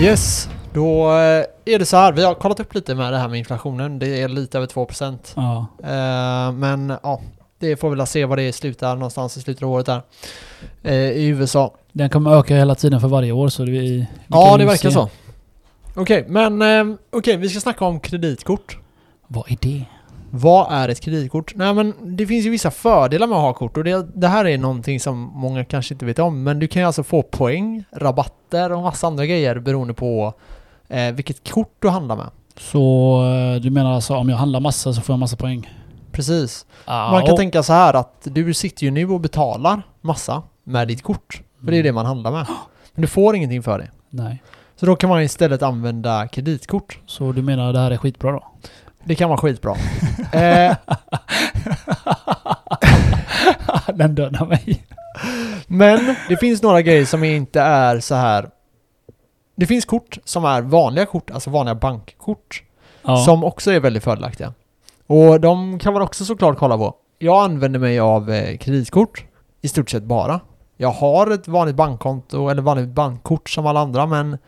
[SPEAKER 1] Yes, då eh, är det så här. Vi har kollat upp lite med det här med inflationen. Det är lite över 2%.
[SPEAKER 2] Ja.
[SPEAKER 1] Eh, men ja, det får vi väl se vad det slutar någonstans i slutet av året där. Eh, I USA.
[SPEAKER 2] Den kommer öka hela tiden för varje år så det vi, vi
[SPEAKER 1] Ja,
[SPEAKER 2] kan
[SPEAKER 1] det
[SPEAKER 2] ju
[SPEAKER 1] verkar
[SPEAKER 2] se.
[SPEAKER 1] så. Okej, men eh, okej, vi ska snacka om kreditkort.
[SPEAKER 2] Vad är det?
[SPEAKER 1] Vad är ett kreditkort? Nej men det finns ju vissa fördelar med att ha kort och det, det här är någonting som många kanske inte vet om. Men du kan ju alltså få poäng, rabatter och massa andra grejer beroende på eh, vilket kort du handlar med.
[SPEAKER 2] Så eh, du menar alltså om jag handlar massa så får jag massa poäng?
[SPEAKER 1] Precis.
[SPEAKER 2] Ah,
[SPEAKER 1] Man kan
[SPEAKER 2] och-
[SPEAKER 1] tänka så här att du sitter ju nu och betalar massa med ditt kort. För det är det man handlar med. Men du får ingenting för det.
[SPEAKER 2] Mm, Nej.
[SPEAKER 1] Så då kan man istället använda kreditkort.
[SPEAKER 2] Så du menar det här är skitbra då?
[SPEAKER 1] Det kan vara skitbra. eh,
[SPEAKER 2] Den dödar mig.
[SPEAKER 1] men det finns några grejer som inte är så här. Det finns kort som är vanliga kort, alltså vanliga bankkort.
[SPEAKER 2] Ja.
[SPEAKER 1] Som också är väldigt fördelaktiga. Och de kan man också såklart kolla på. Jag använder mig av eh, kreditkort i stort sett bara. Jag har ett vanligt bankkonto eller vanligt bankkort som alla andra men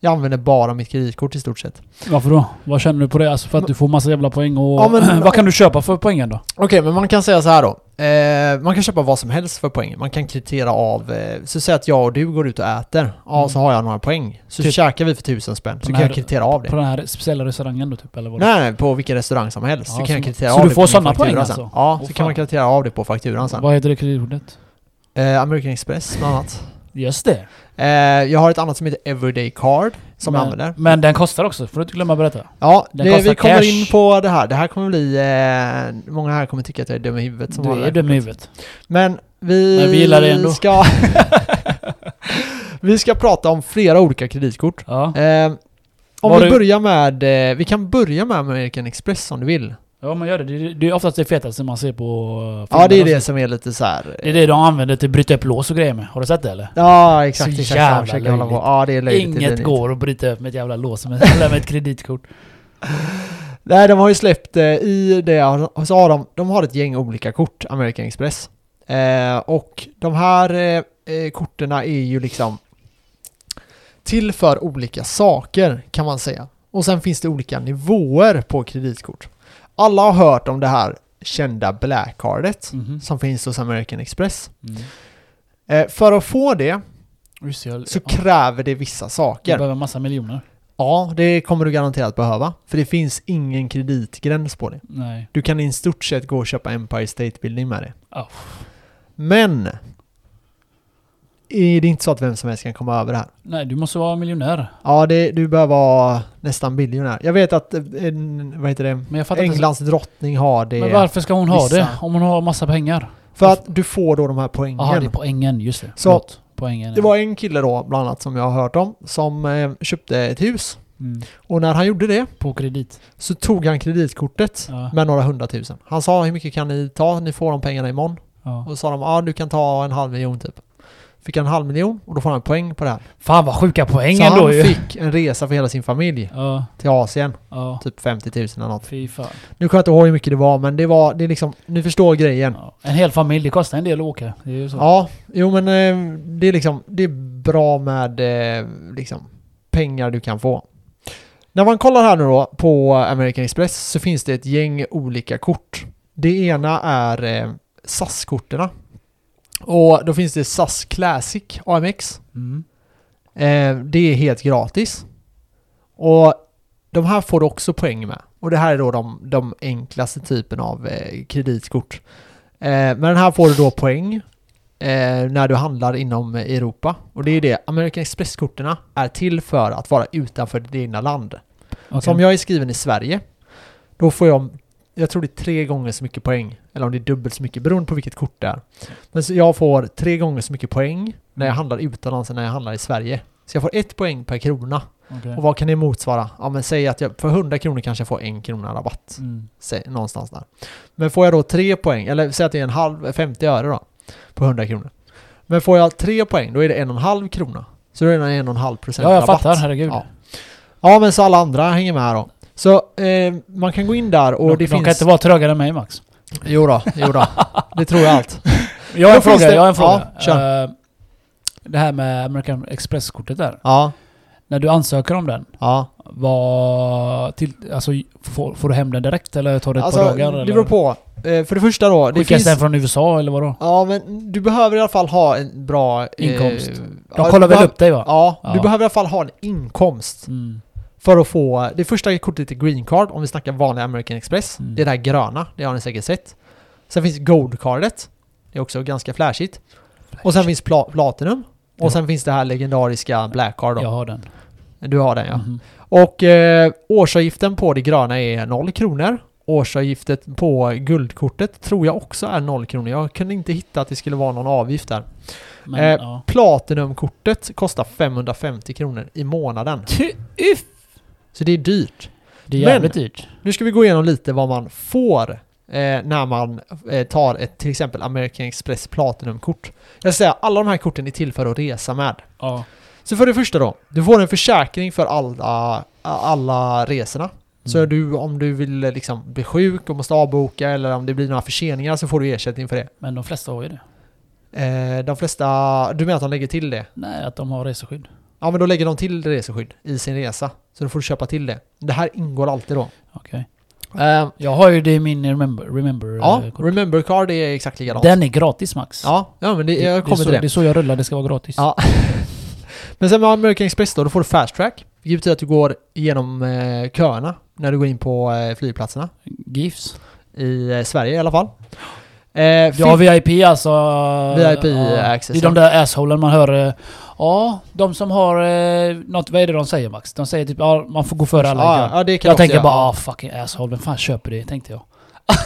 [SPEAKER 1] jag använder bara mitt kreditkort i stort sett.
[SPEAKER 2] Varför då? Vad känner du på det? Alltså för att du får massa jävla poäng och...
[SPEAKER 1] Ja, men-
[SPEAKER 2] vad kan du köpa för poängen då?
[SPEAKER 1] Okej, men man kan säga så här då. Eh, man kan köpa vad som helst för poäng. Man kan kritera av, eh, så säg att jag och du går ut och äter. Ja,
[SPEAKER 2] Mm.
[SPEAKER 1] så har jag några poäng. Så
[SPEAKER 2] Typ-
[SPEAKER 1] käkar vi för tusen spänn. Så
[SPEAKER 2] Den
[SPEAKER 1] kan jag
[SPEAKER 2] här-
[SPEAKER 1] kritera av det.
[SPEAKER 2] På den här speciella restaurangen då typ? Eller vad
[SPEAKER 1] Nej, nej, på vilken restaurang som helst.
[SPEAKER 2] Ja,
[SPEAKER 1] så kan jag
[SPEAKER 2] så-
[SPEAKER 1] kritera
[SPEAKER 2] så
[SPEAKER 1] av
[SPEAKER 2] du
[SPEAKER 1] det
[SPEAKER 2] får
[SPEAKER 1] på min
[SPEAKER 2] sådana poäng
[SPEAKER 1] faktura
[SPEAKER 2] alltså?
[SPEAKER 1] Sen. Ja,
[SPEAKER 2] Åh,
[SPEAKER 1] så kan
[SPEAKER 2] fan.
[SPEAKER 1] man kritera av det på fakturan sen.
[SPEAKER 2] Vad heter det kreditkortet?
[SPEAKER 1] Eh, American Express bland annat.
[SPEAKER 2] Just det.
[SPEAKER 1] Eh, jag har ett annat som heter Everyday Card som
[SPEAKER 2] men,
[SPEAKER 1] jag använder.
[SPEAKER 2] Men den kostar också, får du inte glömma berätta.
[SPEAKER 1] Ja,
[SPEAKER 2] den
[SPEAKER 1] det,
[SPEAKER 2] kostar
[SPEAKER 1] vi kommer
[SPEAKER 2] cash.
[SPEAKER 1] in på det här. Det här kommer bli... Eh, många här kommer tycka att jag är dum i huvudet som
[SPEAKER 2] Du
[SPEAKER 1] har
[SPEAKER 2] är
[SPEAKER 1] det.
[SPEAKER 2] dum i huvudet.
[SPEAKER 1] Men vi...
[SPEAKER 2] Men vi gillar det ändå.
[SPEAKER 1] Ska vi ska prata om flera olika kreditkort.
[SPEAKER 2] Ja.
[SPEAKER 1] Eh, om
[SPEAKER 2] Var
[SPEAKER 1] vi
[SPEAKER 2] det-
[SPEAKER 1] börjar med... Eh, vi kan börja med American Express om du vill.
[SPEAKER 2] ja, men gör det. Det, det är oftast det fetaste man ser på... eh,
[SPEAKER 1] Ja, det är
[SPEAKER 2] filmer
[SPEAKER 1] det
[SPEAKER 2] och så. eh,
[SPEAKER 1] som är lite så här...
[SPEAKER 2] Det är det de använder till att bryta upp lås och grejer med. Har du sett det eller?
[SPEAKER 1] Ja, exakt.
[SPEAKER 2] Så
[SPEAKER 1] exakt.
[SPEAKER 2] jävla
[SPEAKER 1] Ja, försöker hålla på.
[SPEAKER 2] löjligt.
[SPEAKER 1] Ja, det är löjligt. det är
[SPEAKER 2] Inget
[SPEAKER 1] löjligt.
[SPEAKER 2] går att bryta upp med ett jävla lås med, eller med ett kreditkort.
[SPEAKER 1] Nej, de har ju släppt eh, i det, så har de, de har ett gäng olika kort, American Express. Eh, och de här eh, eh, korten är ju liksom till för olika saker kan man säga. Och sen finns det olika nivåer på kreditkort. Alla har hört om det här kända Black Cardet
[SPEAKER 2] Mhm.
[SPEAKER 1] som finns hos American Express.
[SPEAKER 2] Mm.
[SPEAKER 1] Eh, för att få det
[SPEAKER 2] Just det, jag-
[SPEAKER 1] så
[SPEAKER 2] ja.
[SPEAKER 1] kräver det vissa
[SPEAKER 2] Du
[SPEAKER 1] saker.
[SPEAKER 2] behöver massa miljoner.
[SPEAKER 1] Ja, det kommer du garanterat behöva. För det finns ingen kreditgräns på det.
[SPEAKER 2] Nej.
[SPEAKER 1] Du kan i stort sett gå och köpa Empire State Building med det.
[SPEAKER 2] Ja.
[SPEAKER 1] Men! Är det inte så att vem som helst kan komma över det här?
[SPEAKER 2] Nej, du måste vara miljonär.
[SPEAKER 1] Ja, det, du behöver vara nästan biljonär. Jag vet att, eh, en, vad heter det?
[SPEAKER 2] Men jag fattar inte.
[SPEAKER 1] Englands drottning har det.
[SPEAKER 2] Men varför ska hon ha
[SPEAKER 1] vissa-
[SPEAKER 2] det? Om hon har massa pengar?
[SPEAKER 1] För att du får då de här poängen.
[SPEAKER 2] Jaha, det är poängen. Just det.
[SPEAKER 1] Så-
[SPEAKER 2] Förlåt. Poängen.
[SPEAKER 1] det var en kille då, bland annat, som jag har hört om, som eh, köpte ett hus.
[SPEAKER 2] mm.
[SPEAKER 1] Och när han gjorde det
[SPEAKER 2] På kredit.
[SPEAKER 1] så tog han kreditkortet
[SPEAKER 2] Ja.
[SPEAKER 1] med några hundratusen. Han sa hur mycket kan ni ta? Ni får de pengarna imorgon.
[SPEAKER 2] Ja.
[SPEAKER 1] Och så sa de, ja ah, du kan ta en halv miljon typ. Fick han en halv miljon och då får han poäng på det här.
[SPEAKER 2] Fan vad sjuka
[SPEAKER 1] Så
[SPEAKER 2] poängen
[SPEAKER 1] han
[SPEAKER 2] då ju.
[SPEAKER 1] fick en resa för hela sin familj
[SPEAKER 2] Ja,
[SPEAKER 1] till Asien.
[SPEAKER 2] ja.
[SPEAKER 1] Typ 50 000 eller något.
[SPEAKER 2] Fy fan.
[SPEAKER 1] Nu kommer jag inte ihåg hur mycket det var men det var, det är liksom, ni förstår grejen.
[SPEAKER 2] Ja. En hel familj, det kostar en del att åka. Det är ju så.
[SPEAKER 1] Ja, jo men eh, det är liksom, det är bra med eh, liksom pengar du kan få. När man kollar här nu då på American Express så finns det ett gäng olika kort. Det ena är eh, SAS-korterna. Och då finns det SAS Classic AMX.
[SPEAKER 2] Mm.
[SPEAKER 1] Eh, det är helt gratis. Och de här får du också poäng med. Och det här är då de, de enklaste typen av eh, kreditkort. Eh, men den här får du då poäng eh, när du handlar inom Europa. Och det är det, American Express-korten är till för att vara utanför ditt egna land.
[SPEAKER 2] Okej.
[SPEAKER 1] Så Alltså, om jag är skriven i Sverige, då får jag, jag tror det är tre gånger så mycket poäng. Eller om det är dubbelt så mycket, beroende på vilket kort det är. Men så jag får tre gånger så mycket poäng när jag
[SPEAKER 2] Mm.
[SPEAKER 1] handlar utomlands än när jag handlar i Sverige. Så jag får ett poäng per krona.
[SPEAKER 2] Okej. Mm.
[SPEAKER 1] Och vad kan det motsvara? Ja men säg att jag, för 100 kronor kanske jag får en krona rabatt.
[SPEAKER 2] Mm.
[SPEAKER 1] Säg, någonstans där. Men får jag då tre poäng, eller säg att det är en halv, 50 öre då. På 100 kronor. Men får jag tre poäng, då är det en och en halv krona. Så då är det en och en halv procent
[SPEAKER 2] Ja, jag
[SPEAKER 1] rabatt.
[SPEAKER 2] fattar. Herregud.
[SPEAKER 1] Ja. Ja men så alla andra hänger med här då. Så eh, man kan gå in där och
[SPEAKER 2] de,
[SPEAKER 1] det
[SPEAKER 2] de
[SPEAKER 1] finns...
[SPEAKER 2] kan inte vara trögare än mig Max.
[SPEAKER 1] Jo då, jo då. Det tror jag allt.
[SPEAKER 2] Jag har
[SPEAKER 1] Då
[SPEAKER 2] en fråga.
[SPEAKER 1] finns det-
[SPEAKER 2] Jag har en fråga.
[SPEAKER 1] Ja, kör.
[SPEAKER 2] Eh, det här med American Express-kortet där.
[SPEAKER 1] Ja,
[SPEAKER 2] När du ansöker om den,
[SPEAKER 1] ja.
[SPEAKER 2] vad till, alltså, får, får du hem den direkt eller tar det ett par dagar?
[SPEAKER 1] Alltså, det
[SPEAKER 2] eller?
[SPEAKER 1] beror på. Eh, för det första då, det
[SPEAKER 2] Skickas
[SPEAKER 1] finns...
[SPEAKER 2] den från USA eller vadå?
[SPEAKER 1] Ja men du behöver i alla fall ha en bra... eh,
[SPEAKER 2] Inkomst. De
[SPEAKER 1] ja, du
[SPEAKER 2] kollar väl
[SPEAKER 1] behöver-
[SPEAKER 2] upp dig va?
[SPEAKER 1] Ja, du
[SPEAKER 2] Ja.
[SPEAKER 1] behöver i alla fall ha en inkomst
[SPEAKER 2] Mm.
[SPEAKER 1] för att få... Det första kortet är green card, om vi snackar vanliga American Express.
[SPEAKER 2] Mm.
[SPEAKER 1] Det är det här gröna, det har ni säkert sett. Sen finns gold cardet. Det är också ganska flashigt. Och sen finns pla- platinum.
[SPEAKER 2] Ja.
[SPEAKER 1] Och sen finns det här legendariska black card då.
[SPEAKER 2] Jag har den.
[SPEAKER 1] Du har den ja.
[SPEAKER 2] Mhm.
[SPEAKER 1] Och eh, årsavgiften på det gröna är 0 kronor Årsavgiftet på guldkortet tror jag också är 0 kronor. Jag kunde inte hitta att det skulle vara någon avgift där.
[SPEAKER 2] Men,
[SPEAKER 1] Eh,
[SPEAKER 2] ja.
[SPEAKER 1] Platinumkortet kostar 550 kronor i månaden. Så det är dyrt.
[SPEAKER 2] Det är
[SPEAKER 1] men-
[SPEAKER 2] jävligt dyrt.
[SPEAKER 1] Nu ska vi gå igenom lite vad man får eh, när man eh, tar ett till exempel American Express Platinumkort. Jag ska säga, alla de här korten är till för att resa med.
[SPEAKER 2] Ja.
[SPEAKER 1] Så för det första då, du får en försäkring för alla, alla resorna.
[SPEAKER 2] Mm.
[SPEAKER 1] Så du, om du vill eh, liksom bli sjuk och måste avboka eller om det blir några förseningar så får du ersättning för det.
[SPEAKER 2] Men de flesta har ju det.
[SPEAKER 1] Eh, de flesta, du menar att de lägger till det?
[SPEAKER 2] Nej, att de har reseskydd.
[SPEAKER 1] Ja men då lägger de till reseskydd i sin resa. Så då får du köpa till det. Det här ingår alltid då.
[SPEAKER 2] Okej.
[SPEAKER 1] Eh,
[SPEAKER 2] Jag har ju det i min remember... remember
[SPEAKER 1] ja,
[SPEAKER 2] eh, kort.
[SPEAKER 1] remember card är exakt likadant.
[SPEAKER 2] Den är gratis Max.
[SPEAKER 1] Ja, ja men det,
[SPEAKER 2] Det-
[SPEAKER 1] jag kommer
[SPEAKER 2] det är så,
[SPEAKER 1] till det.
[SPEAKER 2] Det är så jag rullar, det ska vara gratis.
[SPEAKER 1] Ja. Men sen med American Express då, då får du fast track. Vilket betyder att du går igenom eh, köerna när du går in på eh, flygplatserna.
[SPEAKER 2] GIFs.
[SPEAKER 1] I eh, Sverige i alla fall. Eh, fin-
[SPEAKER 2] Ja, VIP alltså.
[SPEAKER 1] VIP
[SPEAKER 2] ja.
[SPEAKER 1] access,
[SPEAKER 2] Det är de där assholen man hör. eh, Ja, de som har eh, något, vad är det de säger Max? De säger typ ja, man får gå före alla. i
[SPEAKER 1] ja,
[SPEAKER 2] kön.
[SPEAKER 1] ja, det kan
[SPEAKER 2] jag
[SPEAKER 1] du också
[SPEAKER 2] tänker
[SPEAKER 1] göra.
[SPEAKER 2] bara ah fucking asshole, vem fan köper det? Tänkte jag.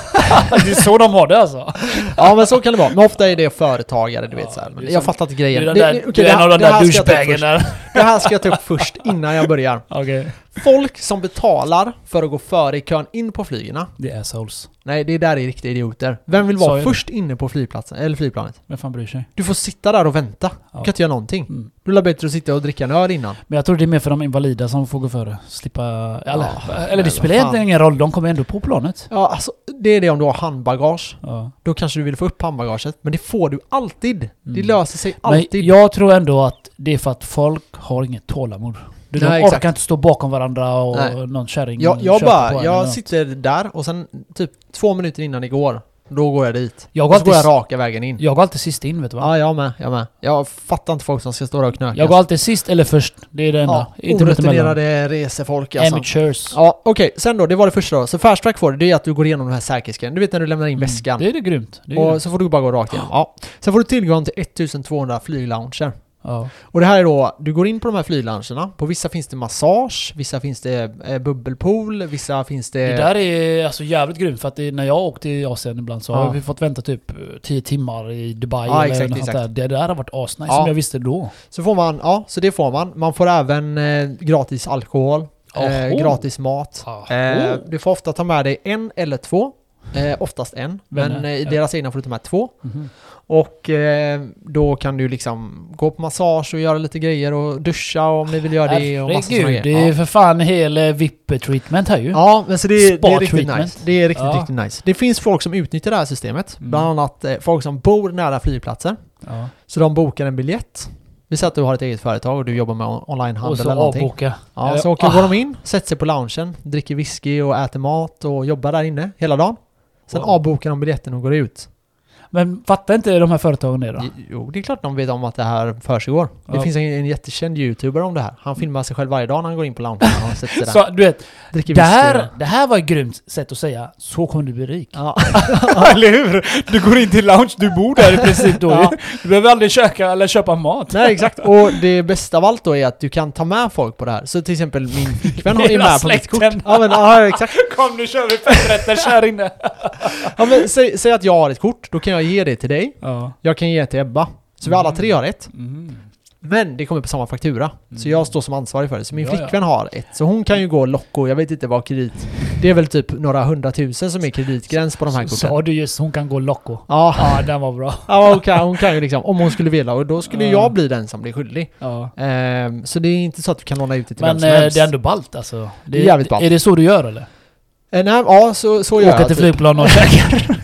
[SPEAKER 2] det är så de har det alltså.
[SPEAKER 1] Ja men så kan det vara. Men ofta är det företagare du vet
[SPEAKER 2] Ja,
[SPEAKER 1] så här.
[SPEAKER 2] det
[SPEAKER 1] Men
[SPEAKER 2] är
[SPEAKER 1] jag
[SPEAKER 2] som-
[SPEAKER 1] fattar inte
[SPEAKER 2] Du är,
[SPEAKER 1] grejen.
[SPEAKER 2] den
[SPEAKER 1] Det-
[SPEAKER 2] där,
[SPEAKER 1] det- okej,
[SPEAKER 2] du
[SPEAKER 1] det
[SPEAKER 2] är
[SPEAKER 1] här-
[SPEAKER 2] en av de
[SPEAKER 1] det här
[SPEAKER 2] där
[SPEAKER 1] ska jag ta upp
[SPEAKER 2] douchebagen
[SPEAKER 1] först.
[SPEAKER 2] där.
[SPEAKER 1] Det här ska jag ta upp först innan jag börjar.
[SPEAKER 2] Okej.
[SPEAKER 1] Folk som betalar för att gå före i kön in på flygerna.
[SPEAKER 2] Det är assholes.
[SPEAKER 1] Nej, det där är riktiga idioter. Vem vill
[SPEAKER 2] Sa
[SPEAKER 1] vara
[SPEAKER 2] jag det?
[SPEAKER 1] först inne på flygplatsen, eller flygplanet?
[SPEAKER 2] Vem fan bryr sig?
[SPEAKER 1] Du får sitta där och vänta. Du
[SPEAKER 2] Ja.
[SPEAKER 1] kan inte göra någonting.
[SPEAKER 2] Mm.
[SPEAKER 1] Du lär bättre att sitta och dricka en öl innan.
[SPEAKER 2] Men jag tror det är mer för de invalida som får gå före. Slippa... Eller,
[SPEAKER 1] Ja,
[SPEAKER 2] eller det
[SPEAKER 1] men vad
[SPEAKER 2] spelar
[SPEAKER 1] fan.
[SPEAKER 2] egentligen ingen roll, de kommer ändå på planet.
[SPEAKER 1] Ja, alltså, det är det om du har handbagage.
[SPEAKER 2] Ja.
[SPEAKER 1] Då kanske du vill få upp handbagaget. Men det får du alltid. Det
[SPEAKER 2] Mm.
[SPEAKER 1] löser sig
[SPEAKER 2] Men
[SPEAKER 1] alltid.
[SPEAKER 2] jag tror ändå att det är för att folk har inget tålamod. Du, de
[SPEAKER 1] Nej,
[SPEAKER 2] orkar
[SPEAKER 1] exakt.
[SPEAKER 2] inte stå bakom varandra och
[SPEAKER 1] Nej.
[SPEAKER 2] någon kärring
[SPEAKER 1] jag jag
[SPEAKER 2] köper på en
[SPEAKER 1] bara,
[SPEAKER 2] eller
[SPEAKER 1] jag
[SPEAKER 2] något.
[SPEAKER 1] sitter där och sen typ två minuter innan igår, då går jag dit.
[SPEAKER 2] Jag
[SPEAKER 1] Och
[SPEAKER 2] går
[SPEAKER 1] så går jag
[SPEAKER 2] alltid,
[SPEAKER 1] raka vägen in.
[SPEAKER 2] jag går alltid sist in vet du va?
[SPEAKER 1] Ja, jag med. Jag med. Jag fattar inte folk som ska stå där och knöka.
[SPEAKER 2] Jag går alltid sist eller först. Det är det enda.
[SPEAKER 1] ja,
[SPEAKER 2] inte mitt emellan.
[SPEAKER 1] orutinerade resefolk alltså.
[SPEAKER 2] Amateurs.
[SPEAKER 1] Ja, okej. Sen då, det var det första då. Så fast track får du, det är att du går igenom den här säkerhetsgrejen. Du vet när du lämnar in
[SPEAKER 2] Mm.
[SPEAKER 1] väskan.
[SPEAKER 2] Det är det grymt. Det är
[SPEAKER 1] och
[SPEAKER 2] grymt.
[SPEAKER 1] så får du bara gå rakt igenom. Ja. Sen får du tillgång till 1200 flygluncher.
[SPEAKER 2] Ja.
[SPEAKER 1] Och det här är då, du går in på de här flygluncherna. På vissa finns det massage, vissa finns det eh, bubbelpool, vissa finns det...
[SPEAKER 2] Det där är alltså jävligt grymt för att det, när jag åkte i Asien ibland så
[SPEAKER 1] Ja.
[SPEAKER 2] har vi fått vänta typ 10 timmar i Dubai
[SPEAKER 1] Ja,
[SPEAKER 2] eller
[SPEAKER 1] exakt,
[SPEAKER 2] något
[SPEAKER 1] exakt.
[SPEAKER 2] sånt där. Det där har varit asnice
[SPEAKER 1] Ja.
[SPEAKER 2] som jag visste då.
[SPEAKER 1] Så får man, ja, så det får man. Man får även eh, gratis alkohol, eh,
[SPEAKER 2] Oho.
[SPEAKER 1] gratis mat.
[SPEAKER 2] Aha. Oh.
[SPEAKER 1] Eh, du får ofta ta med dig en eller två. Eh, oftast en, men
[SPEAKER 2] Vänner,
[SPEAKER 1] eh, i
[SPEAKER 2] ja.
[SPEAKER 1] deras egna får du ta med två.
[SPEAKER 2] Mhm.
[SPEAKER 1] Och eh, då kan du liksom gå på massage och göra lite grejer och duscha om ni vill göra det och massa såna
[SPEAKER 2] Herregud,
[SPEAKER 1] grejer.
[SPEAKER 2] det är
[SPEAKER 1] Ja.
[SPEAKER 2] för fan hel eh, VIP-treatment här ju.
[SPEAKER 1] Ja, men så det, är- det är riktigt
[SPEAKER 2] Spa-treatment.
[SPEAKER 1] nice. Det är riktigt,
[SPEAKER 2] Ja.
[SPEAKER 1] riktigt nice. Det finns folk som utnyttjar det här systemet.
[SPEAKER 2] Mm.
[SPEAKER 1] Bland annat eh, folk som bor nära flygplatser.
[SPEAKER 2] Ja.
[SPEAKER 1] Så de bokar en biljett. Vi säger att du har ett eget företag och du jobbar med on-
[SPEAKER 2] Och
[SPEAKER 1] onlinehandel
[SPEAKER 2] så
[SPEAKER 1] eller någonting.
[SPEAKER 2] avboka.
[SPEAKER 1] Ja,
[SPEAKER 2] Eller-
[SPEAKER 1] så åker,
[SPEAKER 2] Ah,
[SPEAKER 1] går de in, sätter sig på loungen, dricker whisky och äter mat och jobbar där inne hela dagen. Sen
[SPEAKER 2] Wow.
[SPEAKER 1] avbokar de biljetten och går ut.
[SPEAKER 2] Men fattar inte de här företagen det då?
[SPEAKER 1] Jo, det är klart de vet om att det här försiggår. Det
[SPEAKER 2] Ja.
[SPEAKER 1] finns en, en jättekänd youtuber om det här. Han filmar sig själv varje dag när han går in på loungen och sätter sig där.
[SPEAKER 2] Så, du vet,
[SPEAKER 1] Dricker
[SPEAKER 2] det
[SPEAKER 1] whisky.
[SPEAKER 2] här,
[SPEAKER 1] och-
[SPEAKER 2] det här var ett grymt sätt att säga så kommer du bli rik.
[SPEAKER 1] Ja,
[SPEAKER 2] Eller hur? Du går in till lounge, du bor där i princip då
[SPEAKER 1] Ja.
[SPEAKER 2] ju. Du behöver aldrig köka eller köpa mat.
[SPEAKER 1] nej exakt. Och det bästa av allt då är att du kan ta med folk på det här. Så till exempel min flickvän har ju
[SPEAKER 2] Hela
[SPEAKER 1] med på mitt kort.
[SPEAKER 2] släkten.
[SPEAKER 1] Ja men, ja, exakt.
[SPEAKER 2] Kom nu kör vi feträtter här inne.
[SPEAKER 1] Ja, men, säg, säg att jag har ett kort, då kan jag ge det till dig.
[SPEAKER 2] Ja.
[SPEAKER 1] Jag kan ge det till Ebba. Så vi alla tre har ett.
[SPEAKER 2] Mm.
[SPEAKER 1] Men det kommer på samma faktura. Så jag står som ansvarig för det. Så min
[SPEAKER 2] Ja, ja.
[SPEAKER 1] flickvän har ett. Så hon kan ju gå locko. Jag vet inte vad kredit... Det är väl typ några hundratusen som är kreditgräns på de här korten.
[SPEAKER 2] Sa du just hon kan gå Loco?
[SPEAKER 1] Ja,
[SPEAKER 2] Ja, den var bra.
[SPEAKER 1] ja hon, kan, hon kan ju liksom, om hon skulle vilja, och då skulle
[SPEAKER 2] Ja.
[SPEAKER 1] jag bli den som blir skyldig.
[SPEAKER 2] Ja.
[SPEAKER 1] Ehm, så det är inte så att du kan låna ut det till
[SPEAKER 2] Men
[SPEAKER 1] vem som
[SPEAKER 2] eh,
[SPEAKER 1] helst.
[SPEAKER 2] det är ändå ballt alltså.
[SPEAKER 1] Det är jävligt ballt.
[SPEAKER 2] Är det så du gör eller?
[SPEAKER 1] Eh, nej, ja, så, så gör
[SPEAKER 2] Åka
[SPEAKER 1] jag
[SPEAKER 2] till
[SPEAKER 1] typ,
[SPEAKER 2] flygplan och käka?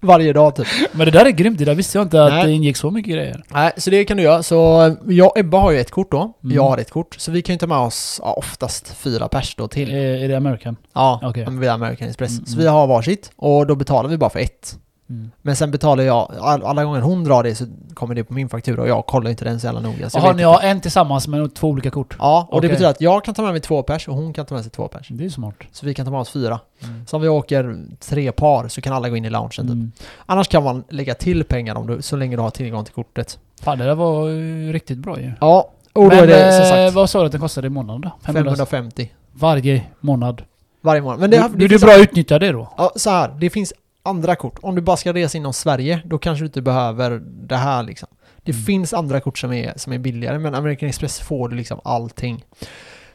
[SPEAKER 1] varje dag typ.
[SPEAKER 2] Men det där är grymt, det där visste jag inte att
[SPEAKER 1] Nej.
[SPEAKER 2] det ingick så mycket grejer.
[SPEAKER 1] Nej, så det kan du göra. Så eh, jag och Ebba har ju ett kort då.
[SPEAKER 2] Mm.
[SPEAKER 1] Jag har ett kort. Så vi kan ju ta med oss ja, oftast fyra pers då till.
[SPEAKER 2] Eh, Är det American?
[SPEAKER 1] Ja,
[SPEAKER 2] Okej.
[SPEAKER 1] men vi är American Express.
[SPEAKER 2] Mm,
[SPEAKER 1] Så
[SPEAKER 2] mm.
[SPEAKER 1] vi har varsitt och då betalar vi bara för ett.
[SPEAKER 2] Mm.
[SPEAKER 1] Men sen betalar jag, all, alla gånger hon drar det så kommer det på min faktura och jag kollar inte den så jävla noga. Så jag
[SPEAKER 2] Jaha,
[SPEAKER 1] vet
[SPEAKER 2] ni
[SPEAKER 1] inte.
[SPEAKER 2] har en tillsammans men två olika kort?
[SPEAKER 1] Ja, och
[SPEAKER 2] Okej.
[SPEAKER 1] det betyder att jag kan ta med mig två pers och hon kan ta med sig två pers.
[SPEAKER 2] Det är smart.
[SPEAKER 1] Så vi kan ta med oss fyra.
[SPEAKER 2] Mm.
[SPEAKER 1] Så om vi åker tre par så kan alla gå in i loungen typ.
[SPEAKER 2] Mm.
[SPEAKER 1] Annars kan man lägga till pengar om du, så länge du har tillgång till kortet.
[SPEAKER 2] Fan det där var eh, riktigt bra ju.
[SPEAKER 1] Ja, och då
[SPEAKER 2] men
[SPEAKER 1] är det som
[SPEAKER 2] eh,
[SPEAKER 1] sagt
[SPEAKER 2] vad sa du att den kostade i månaden då? 500?
[SPEAKER 1] 550.
[SPEAKER 2] Varje månad.
[SPEAKER 1] Varje månad. Men det, det,
[SPEAKER 2] Blir du
[SPEAKER 1] finns,
[SPEAKER 2] bra att utnyttja det då?
[SPEAKER 1] ja, så här, det finns andra kort. Om du bara ska resa inom Sverige, då kanske du inte behöver det här liksom. Det
[SPEAKER 2] Mm.
[SPEAKER 1] finns andra kort som är, som är billigare, men American Express får du liksom allting.